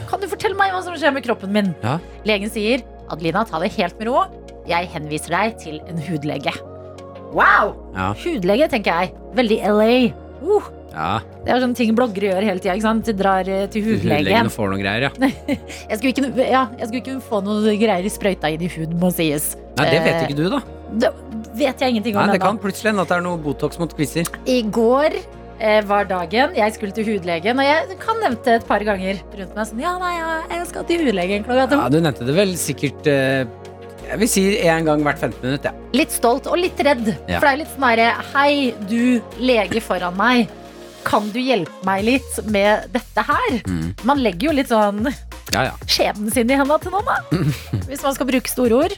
S2: Kan du fortelle meg hva som skjer med kroppen min?
S3: Ja.
S2: Legen sier Adelina, ta det helt med ro. Jeg henviser deg til en hudlege. Wow!
S3: Ja.
S2: Hudlege, tenker jeg. Veldig LA. Uh,
S3: ja.
S2: det er sånne ting bloggere gjør hele tida. ikke sant? De drar eh, til hudlegen.
S3: Hudlegen får noen greier, ja.
S2: Jeg skulle ikke, ja, jeg skulle ikke få noe greier sprøyta inn i huden, må sies.
S3: Nei, det vet ikke du, da.
S2: Det vet jeg ingenting om
S3: Nei, det
S2: ennå.
S3: kan plutselig hende at det er noe Botox mot kvisser.
S2: I går eh, var dagen jeg skulle til hudlegen, og jeg kan nevnte et par ganger rundt meg sånn Ja, nei, ja, jeg skal til hudlegen klokka to.
S3: Ja, du nevnte det vel sikkert eh, Jeg vil si én gang hvert 15 minutt, ja.
S2: Litt stolt og litt redd.
S3: Ja.
S2: For det er litt sånn herre Hei, du lege foran meg. Kan du hjelpe meg litt med dette her?
S3: Mm.
S2: Man legger jo litt sånn
S3: Ja, ja.
S2: skjebnen sin i henda til noen, da. Hvis man skal bruke store ord.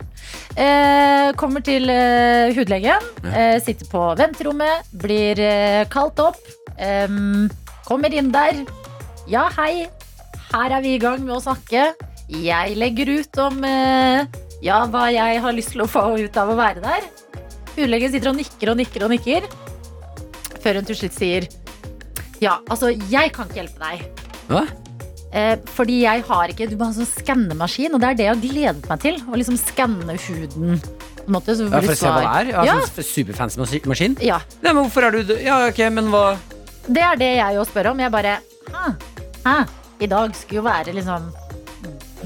S2: Eh, kommer til eh, hudlegen, eh, sitter på venterommet, blir eh, kalt opp. em, kommer inn der. Ja, hei. Her er vi i gang med å snakke. Jeg legger ut om eh, ja, hva jeg har lyst til å få ut av å være der. Hudlegen sitter og nikker og nikker og nikker. Før hun til slutt sier ja, altså, jeg kan ikke hjelpe deg.
S3: Hva?
S2: Eh, fordi jeg har ikke Du må ha en sånn skannemaskin, og det er det jeg har gledet meg til. Å liksom skanne huden. På en måte, så
S3: ja
S2: får
S3: for
S2: du
S3: å se hva
S2: svar.
S3: det er? Ja,
S2: Ja.
S3: Sånn superfancy mas- maskin?
S2: Ja,
S3: Nei, men hvorfor er du død? Ja, ok, men hva
S2: Det er det jeg jo spør om. Jeg bare Hæ? Hæ? I dag skulle jo være liksom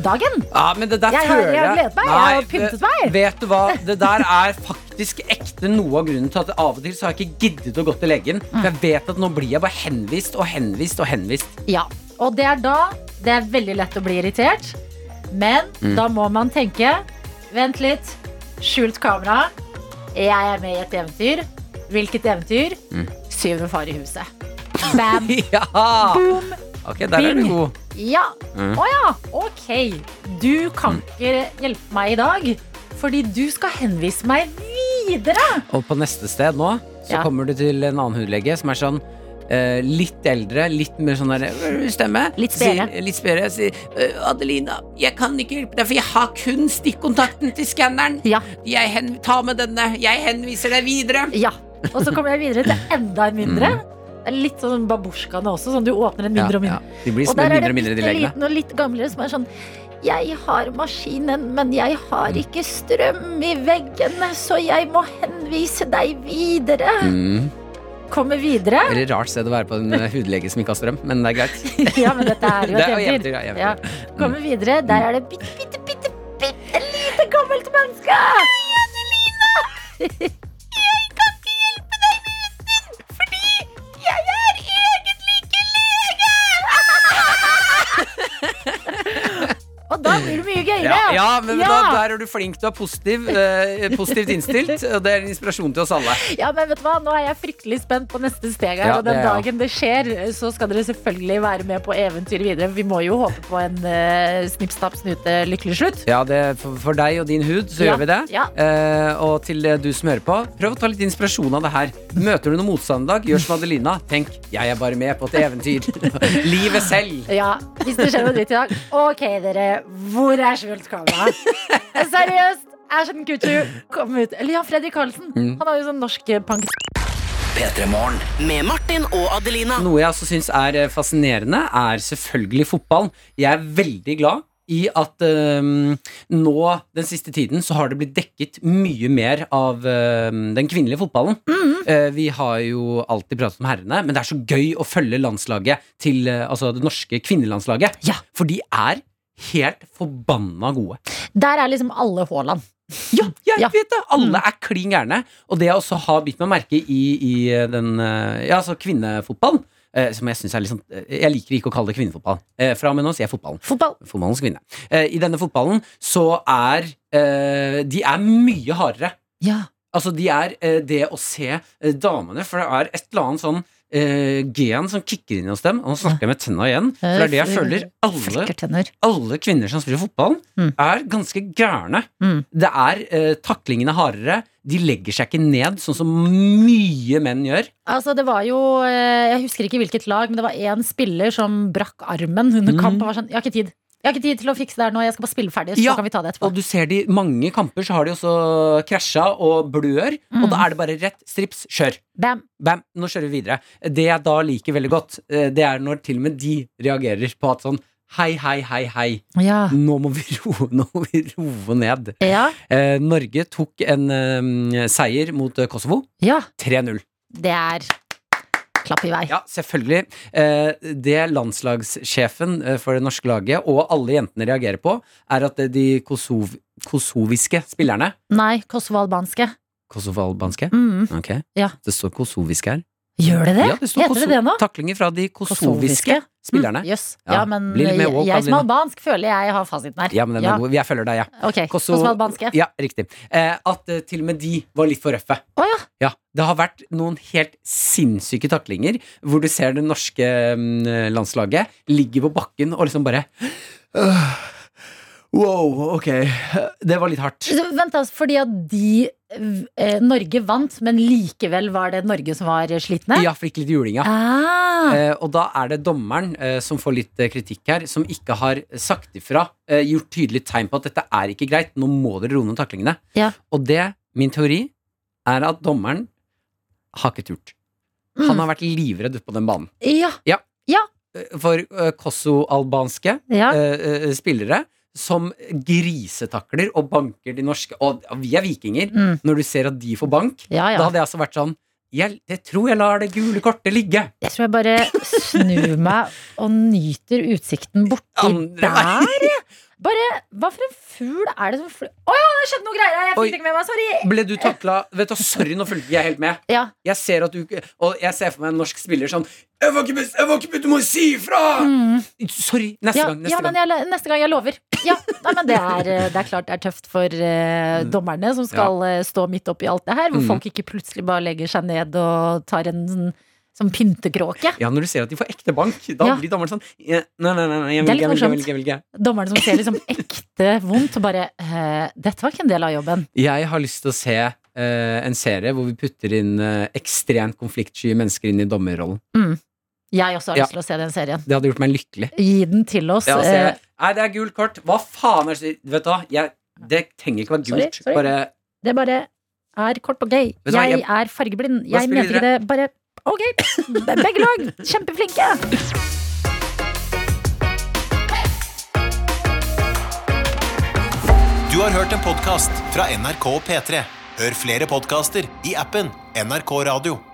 S2: dagen.
S3: Ja, men det der
S2: Jeg har-
S3: føler
S2: jeg har gledet meg, jeg har
S3: Nei,
S2: pyntet
S3: det-
S2: meg.
S3: Vet du hva, det der er faktisk ekte noe av grunnen til at av og til så har jeg ikke giddet å gå til legen. For jeg vet at nå blir jeg bare henvist og henvist og henvist.
S2: Ja, og det er da det er veldig lett å bli irritert. Men
S3: Mm.
S2: da må man tenke Vent litt. Skjult kamera. Jeg er med i et eventyr. Hvilket eventyr?
S3: Mm.
S2: Syvende far i huset. Bam.
S3: Ja! Ok, der er du
S2: Bing.
S3: god.
S2: Ja. Å
S3: Mm.
S2: ja, ok. Du kan ikke hjelpe meg i dag, fordi du skal henvise meg videre.
S3: Og på neste sted nå så
S2: Ja.
S3: kommer du til en annen hudlege som er sånn eh, litt eldre, litt mer sånn der øh, stemme.
S2: Litt spedere.
S3: Sier- Litt spedere. Sier «Øh, Adelina, jeg kan ikke hjelpe deg, for jeg har kun stikkontakten til skanneren.
S2: Ja.
S3: Jeg hen ta med denne. Jeg henviser deg videre.
S2: ja. Og så kommer jeg videre til enda en mindre.
S3: Mm.
S2: Det er litt sånn babusjkaene også, sånn du åpner en mindre og mindre.
S3: De blir
S2: Og der er
S3: mindre
S2: det
S3: og mindre, de
S2: bitte
S3: legene.
S2: liten og litt gamlere som er sånn Jeg har maskinen, men jeg har
S3: Mm.
S2: ikke strøm i veggene, så jeg må henvise deg videre.
S3: Mm.
S2: Kommer videre.
S3: Veldig rart sted å være på en eh, hudlege som ikke har strøm, men det er greit.
S2: Ja, men dette er jo
S3: Det
S2: et
S3: er eventyr,
S2: eventyr.
S3: ja, eventyr.
S2: Ja.
S3: Mm.
S2: Kommer videre. Der er det bitte, bitte, bitte, bitte lite gammelt menneske. Og da blir det mye gøyere.
S3: Ja, ja men
S2: Ja.
S3: Da, der er du flink. Du er positiv, eh, positivt innstilt. Og det er en inspirasjon til oss alle.
S2: Ja, men vet du hva? Nå er jeg fryktelig spent på neste steg her.
S3: Ja,
S2: og den
S3: det er jeg
S2: dagen det skjer, så skal dere selvfølgelig være med på eventyr videre. Vi må jo håpe på en uh, snipp, snapp, snute, lykkelig slutt.
S3: Ja, det, for, for deg og din hud
S2: Ja,
S3: så gjør vi det.
S2: ja.
S3: Eh, og til eh, du som hører på, prøv å ta litt inspirasjon av det her. Møter du noe motstand i dag, gjør som Adelina. Tenk 'jeg er bare med på et eventyr'. Livet selv.
S2: Ja, hvis det skjer noe dritt i dag. Ok, dere. Hvor er skjult kamera? Seriøst. Ashton Kutcher kom ut. Eller ja, Fredrik Karlsen.
S3: Mm.
S2: Han har jo sånn norsk pank...
S5: Med Martin og Adelina.
S3: Noe jeg også syns er eh, fascinerende, er selvfølgelig fotballen. Jeg er veldig glad i at eh, nå den siste tiden så har det blitt dekket mye mer av eh, den kvinnelige fotballen. Eh, vi har jo alltid pratet om herrene, men det er så gøy å følge landslaget til eh, altså det norske kvinnelandslaget.
S2: Ja.
S3: For de er helt forbanna gode.
S2: Der er liksom alle Haaland.
S3: Ja, Mm. jeg
S2: Ja.
S3: vet det! Alle er klin gærne. Og det jeg også har bitt meg merke i, i den eh, Ja, altså kvinnefotballen, eh, som jeg synes er litt sånn eh, Jeg liker ikke å kalle det kvinnefotball. Eh, fra og med nå sier jeg fotballen.
S2: Fotball.
S3: Fotballens kvinne. Eh, I denne fotballen så er eh, De er mye hardere.
S2: Ja.
S3: Altså, de er eh, det å se eh, damene, for det er et eller annet sånn eh, gen som kicker inn hos dem. Og nå snakker jeg med tenna igjen, for det er det jeg føler. Alle
S2: Flikkertenner.
S3: alle kvinner som spiller fotball,
S2: Mm.
S3: er ganske gærne.
S2: Mm.
S3: Det er eh, Taklingene er hardere. De legger seg ikke ned, sånn som mye menn gjør.
S2: Altså, det var jo eh, Jeg husker ikke hvilket lag, men det var én spiller som brakk armen under
S3: Mhm.
S2: kamp og var sånn Jeg har ikke tid. Jeg har ikke tid til å fikse det her nå. Jeg skal bare spille ferdig, så
S3: Ja,
S2: kan vi ta det etterpå.
S3: Og du ser de i mange kamper, så har de også krasja og blør. Og
S2: Mm.
S3: da er det bare rett strips, kjør.
S2: Bam.
S3: Bam, nå kjører vi videre. Det jeg da liker veldig godt, eh, det er når til og med de reagerer på at sånn Hei, hei, hei, hei.
S2: Ja.
S3: Nå må vi roe, nå må vi roe ned.
S2: Ja.
S3: Eh, Norge tok en eh, seier mot eh, Kosovo.
S2: ja.
S3: 3-0.
S2: Det er klapp i vei.
S3: Ja, selvfølgelig. Eh, Det landslagssjefen eh, for det norske laget og alle jentene reagerer på, er at eh, de kosov, kosoviske spillerne
S2: Nei, kosovo-albanske.
S3: Kosovo-albanske?
S2: Mm.
S3: Ok.
S2: Ja.
S3: Det står kosoviske her.
S2: Gjør det det?
S3: Ja, det står
S2: Heter
S3: koso-
S2: det det nå?
S3: Taklinger fra de kosoviske
S2: Kosoviske?
S3: spillerne.
S2: Jøss. Mm,
S3: Ja,
S2: Ja, men
S3: bli litt
S2: jeg,
S3: mer woke,
S2: jeg som
S3: Adelina.
S2: er albansk føler jeg har fasiten her.
S3: Ja, men den er god. Jeg følger deg, jeg. Ja.
S2: Ok,
S3: Koso-
S2: kosovo-albanske.
S3: Ja, riktig. Eh, At eh, til og med de var litt for røffe.
S2: Å ja.
S3: Ja, Det har vært noen helt sinnssyke taklinger hvor du ser det norske mm, landslaget ligger på bakken og liksom bare «Åh, Wow, ok. Det var litt hardt.
S2: Så Vent, altså, fordi at de eh, Norge vant, men likevel var det Norge som var slitne?
S3: Ja, fikk litt juling, ja.
S2: Ah,
S3: Eh, og da er det dommeren eh, som får litt eh, kritikk her, som ikke har sagt ifra, eh, gjort tydelig tegn på at dette er ikke greit, nå må dere roe ned taklingene.
S2: Ja.
S3: Og det, min teori, er at dommeren har ikke turt. Han har vært livredd på den banen.
S2: ja,
S3: Eh, For eh, kosovo-albanske
S2: ja.
S3: eh, eh, spillere som grisetakler og banker de norske. Og vi er vikinger.
S2: Mm.
S3: Når du ser at de får bank,
S2: Ja,
S3: da
S2: ja.
S3: hadde jeg altså vært sånn jeg, jeg tror jeg lar det gule kortet ligge.
S2: Jeg tror jeg bare snur meg og nyter utsikten borti
S3: Andre
S2: der.
S3: veien.
S2: Bare, Hva for en fugl er det som flyr Å ja, det skjedde noe greier her! Jeg
S3: Oi.
S2: fikk det ikke med meg, sorry!
S3: Ble du takla Vet du, Sorry, nå fulgte ikke jeg helt med.
S2: Ja,
S3: Jeg ser at du ikke- Og jeg ser for meg en norsk spiller sånn jeg var ikke med, jeg var ikke med, Du må si ifra! Sorry. Neste
S2: ja,
S3: gang. Neste
S2: ja men
S3: gang.
S2: jeg, neste gang jeg lover. Ja, nei, men det er, eh, det er klart det er tøft for eh, dommerne som skal eh, stå midt oppi alt det her, hvor
S3: Mm.
S2: folk ikke plutselig bare legger seg ned og tar en sånn som pyntekråke.
S3: Ja, Når du ser at de får ekte bank, da
S2: Ja.
S3: blir dommeren sånn «Ja, Nei, nei, nei, nei
S2: Det
S3: jeg
S2: er
S3: vil ikke, jeg
S2: litt
S3: vil ikke, jeg vil ikke, jeg vil ikke.
S2: Dommerne som ser liksom ekte vondt og bare eh, Dette var ikke en del av jobben.
S3: Jeg har lyst til å se eh, en serie hvor vi putter inn eh, ekstremt konfliktsky mennesker inn i dommerrollen.
S2: Jeg også har
S3: Ja.
S2: lyst til å se den serien.
S3: Det hadde gjort meg lykkelig.
S2: Gi den til oss.
S3: Ja, så
S2: eh,
S3: jeg, nei, det er gult kort. Hva faen er det Vet du hva, jeg, det trenger ikke være
S2: Sorry,
S3: gult.
S2: sorry.
S3: Bare
S2: Det bare er kort og gøy.
S3: Vet du hva,
S2: Jeg
S3: jeg-
S2: er fargeblind.
S3: Bare
S2: Jeg
S3: spill
S2: mente ikke
S3: videre.
S2: det. Bare ok. Be- Begge lag, kjempeflinke!
S1: Du har hørt en podcast fra NRK P3. Hør flere podcaster i appen NRK Radio.